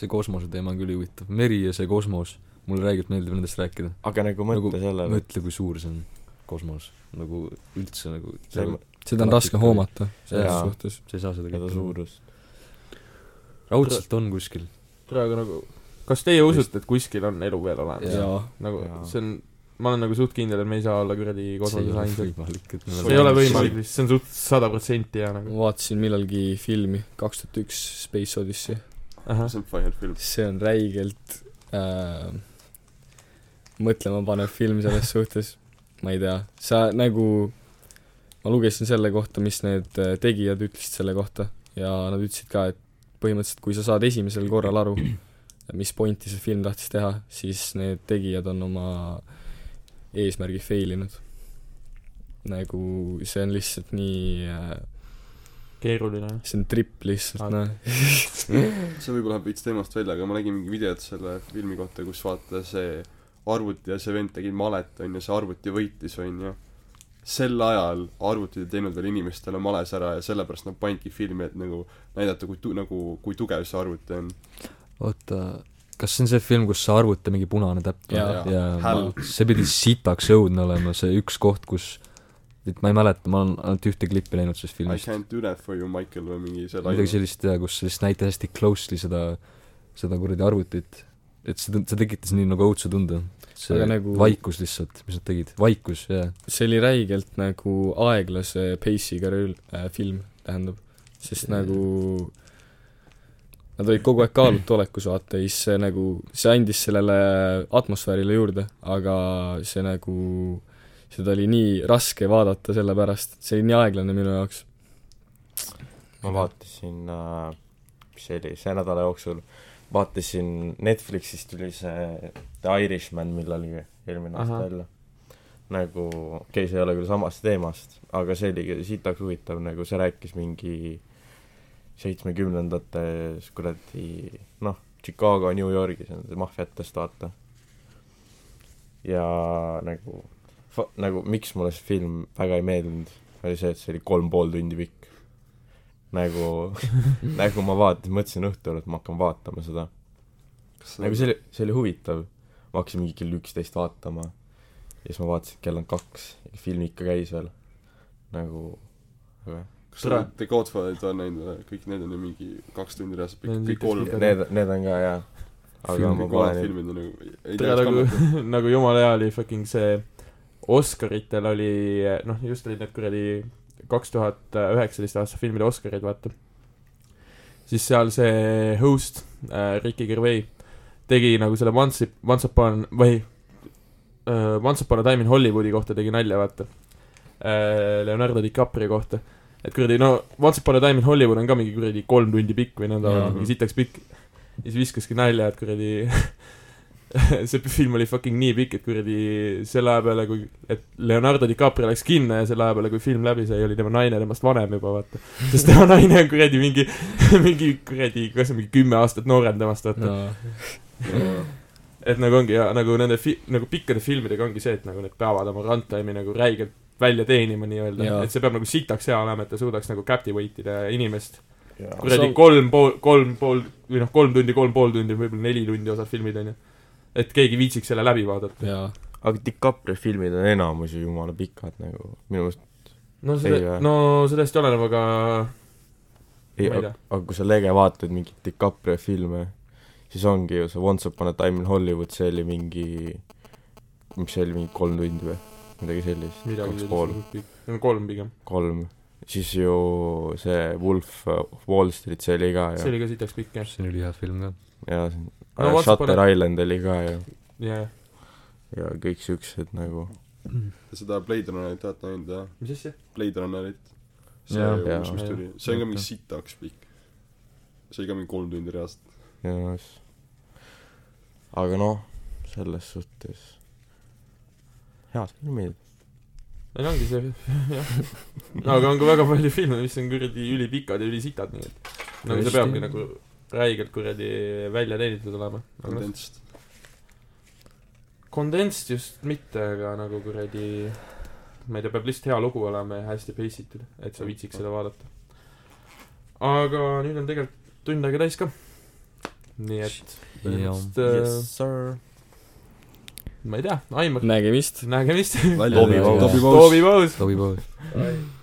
Speaker 5: see kosmose teema on küll huvitav , meri ja see kosmos , mulle räigelt meeldib nendest rääkida .
Speaker 8: aga nagu mõtle
Speaker 5: Nagu-
Speaker 8: sellele ,
Speaker 5: mõtle , kui suur see on , kosmos , nagu üldse nagu , sa
Speaker 8: see
Speaker 5: ei
Speaker 7: seda on raske hoomata selles
Speaker 8: Jaa.
Speaker 7: suhtes .
Speaker 5: sa ei saa seda
Speaker 8: mõõda
Speaker 5: kätte .
Speaker 8: suurust .
Speaker 5: raudselt on kuskil .
Speaker 4: tere , aga nagu , kas teie usute , et kuskil on elu veel olemas ?
Speaker 7: jaa .
Speaker 4: nagu
Speaker 8: Jaa.
Speaker 4: see on , ma olen nagu suht kindel , et me ei saa olla kuradi kosmoses ainsad .
Speaker 5: võimalik ,
Speaker 6: [laughs]
Speaker 5: et
Speaker 4: see ei ole võimalik , see on suht sada protsenti ja nagu
Speaker 7: ma vaatasin millalgi filmi , kaks tuhat üks Space Odyssey .
Speaker 4: ahah ,
Speaker 6: see on fire film .
Speaker 7: see on räigelt äh, mõtlemapanev film selles suhtes , ma ei tea , sa nagu , ma lugesin selle kohta , mis need äh, tegijad ütlesid selle kohta ja nad ütlesid ka , et põhimõtteliselt kui sa saad esimesel korral aru , mis pointi see film tahtis teha , siis need tegijad on oma eesmärgi fail inud . nagu see on lihtsalt nii äh, ,
Speaker 4: keeruline .
Speaker 7: see on trip lihtsalt ,
Speaker 4: Aga-
Speaker 7: noh .
Speaker 6: see võib-olla läheb veits teemast välja , aga ma nägin mingi videot selle filmi kohta , kus vaata see arvuti ja see vend tegid malet , onju , see arvuti võitis , onju . sel ajal arvutid ei teinud veel inimestele males ära ja sellepärast nad pandigi filmi , et nagu näidata , kui tu- , nagu , kui tugev see arvuti on .
Speaker 5: oota , kas see on see film , kus see arvuti mingi punane täpp on?
Speaker 7: Jaa.
Speaker 6: Jaa.
Speaker 5: jaa
Speaker 6: Häll. ,
Speaker 5: see pidi sitaks õudne olema , see üks koht , kus et ma ei mäleta , ma olen ainult ühte klippi näinud sellest
Speaker 6: I
Speaker 5: filmist .
Speaker 6: can't do that for you , Michael , või mingi see
Speaker 5: midagi
Speaker 6: laine .
Speaker 5: sellist jaa , kus lihtsalt näitas hästi closely seda , seda kuradi arvutit et see , see tekitas nii nagu õudse tunde . see
Speaker 7: Aga nagu-
Speaker 5: vaikus lihtsalt , mis nad tegid , vaikus , jaa .
Speaker 7: see oli räigelt nagu aeglase pace'iga rööl- , äh, film , tähendab . sest nagu nad olid kogu aeg kaalutoolekus , vaata , ja siis see nagu , see andis sellele atmosfäärile juurde , aga see nagu , seda oli nii raske vaadata , sellepärast et see oli nii aeglane minu jaoks .
Speaker 8: ma vaatasin , mis see oli , see nädala jooksul vaatasin Netflixis tuli see The Irishman , millal oli eelmine aasta
Speaker 4: Ahah.
Speaker 8: välja . nagu , okei okay, , see ei ole küll samast teemast , aga see oli sitaks huvitav , nagu see rääkis mingi seitsmekümnendates kuradi noh , Chicago , New Yorgis on see maffiatest , vaata . ja nagu , nagu miks mulle see film väga ei meeldinud , oli see , et see oli kolm pool tundi pikk . nagu , nagu ma vaatasin , mõtlesin õhtul , et ma hakkan vaatama seda . nagu see oli , see oli huvitav . ma hakkasin mingi kell üksteist vaatama ja siis ma vaatasin , et kell on kaks ja film ikka käis veel . nagu , aga jah.
Speaker 6: kas sa oled The Godfatherit on näinud või ? kõik need on ju mingi kaks tundi reaalselt pikk
Speaker 4: Need , on
Speaker 6: kõik
Speaker 4: siuksed
Speaker 6: kolm ,
Speaker 4: Tere.
Speaker 8: need , need on ka jaa . aga ma
Speaker 6: kõik
Speaker 8: pole
Speaker 6: vanad
Speaker 8: neid ,
Speaker 6: filmid on nagu , ei tea ,
Speaker 4: tere
Speaker 6: kas
Speaker 4: nagu
Speaker 6: kannata .,
Speaker 4: [laughs] nagu jumala hea oli fucking see Oscaritel oli , noh , just olid need kuradi kaks tuhat üheksateist aasta filmide Oscarid , vaata . siis seal see host äh, , Ricky Gervais , tegi nagu selle Once , Once Upon või äh, Once Upon a Time in Hollywoodi kohta tegi nalja , vaata äh, . Leonardo DiCaprio kohta . et kuradi , no Once Upon a Time in Hollywood on ka mingi kuradi kolm tundi pikk või nõnda ,
Speaker 7: Jaa.
Speaker 4: mingi sitaks pikk . ja siis viskaski nalja , et kuradi [laughs] see film oli fucking nii pikk , et kuradi selle aja peale , kui , et Leonardo DiCaprio läks kinno ja selle aja peale , kui film läbi sai , oli tema naine temast vanem juba , vaata . sest tema naine on kuradi mingi , [laughs] mingi kuradi , kas see on mingi kümme aastat noorem temast , vaata . [laughs] et nagu ongi ja nagu nende fi- , nagu pikkade filmidega ongi see , et nagu need peavad oma runtime'i nagu räigelt välja teenima nii-öelda
Speaker 7: Jaa. ,
Speaker 4: et see peab nagu sitaks hea olema , et ta suudaks nagu captivate ida inimest .
Speaker 8: jaa .
Speaker 4: kuradi
Speaker 7: on-
Speaker 4: kolm pool , kolm pool või noh , kolm tundi , kolm pool tundi , võib-olla neli tundi osad filmid onju . et keegi viitsiks selle läbi vaadata .
Speaker 7: jaa ,
Speaker 8: aga DiCaprio filmid on enamus ju jumala pikad nagu , minu meelest
Speaker 4: no
Speaker 8: Ei
Speaker 4: see
Speaker 8: vä? ,
Speaker 4: no sellest oleneb , aga Ma ei
Speaker 8: ei ,
Speaker 4: tea.
Speaker 8: aga aga kui sa lege vaatad mingeid DiCaprio filme , siis ongi ju see Once Upon a Time in Hollywood , see oli mingi , mis see oli , mingi kolm tundi või midagi sellist ,
Speaker 4: midagi
Speaker 8: kaks pool ,
Speaker 4: sellist . kolm pigem ,
Speaker 8: kolm . siis ju see Wolf of Wall Street , see oli ka
Speaker 4: see
Speaker 8: ju ,
Speaker 4: oli ka sitaks pikk jah ,
Speaker 5: see oli ülihea film ka .
Speaker 8: ja see-
Speaker 4: No Once
Speaker 8: Shutter
Speaker 4: Upon a-
Speaker 8: Island oli ka ju ,
Speaker 4: jajah .
Speaker 8: ja kõik siuksed nagu
Speaker 6: seda Blade Runnerit olete näinud jah ?
Speaker 4: mis asja ?
Speaker 6: Blade Runnerit . see
Speaker 5: Jaa.
Speaker 8: Jaa.
Speaker 6: uus , mis tuli , see on ka mingi
Speaker 5: Jaa.
Speaker 6: sitaks pikk . see oli ka mingi kolm tundi reaalselt .
Speaker 8: ja s- aga noh , selles suhtes head filmid .
Speaker 4: ei no ongi see , [laughs] jah . no aga on ka väga palju filme , mis on kuradi ülipikad ja ülisitad , nii et nagu see
Speaker 5: Tõesti.
Speaker 4: peabki nagu räigelt kuradi välja teenitud olema .
Speaker 6: kondentst .
Speaker 4: kondents just mitte , aga nagu kuradi ma ei tea , peab lihtsalt hea lugu olema ja hästi pace itud , et sa viitsiks seda vaadata . aga nüüd on tegelikult tund aega täis ka . nii et põhimõtteliselt yes.
Speaker 8: sir .
Speaker 4: äh, ma ei tea , Aimar ,
Speaker 7: nägemist .
Speaker 4: nägemist .
Speaker 6: Välja
Speaker 5: Tobi
Speaker 6: tuli
Speaker 5: Paus.
Speaker 6: Tobi Paus .
Speaker 4: Toobi Paus .
Speaker 5: Tobi Paus .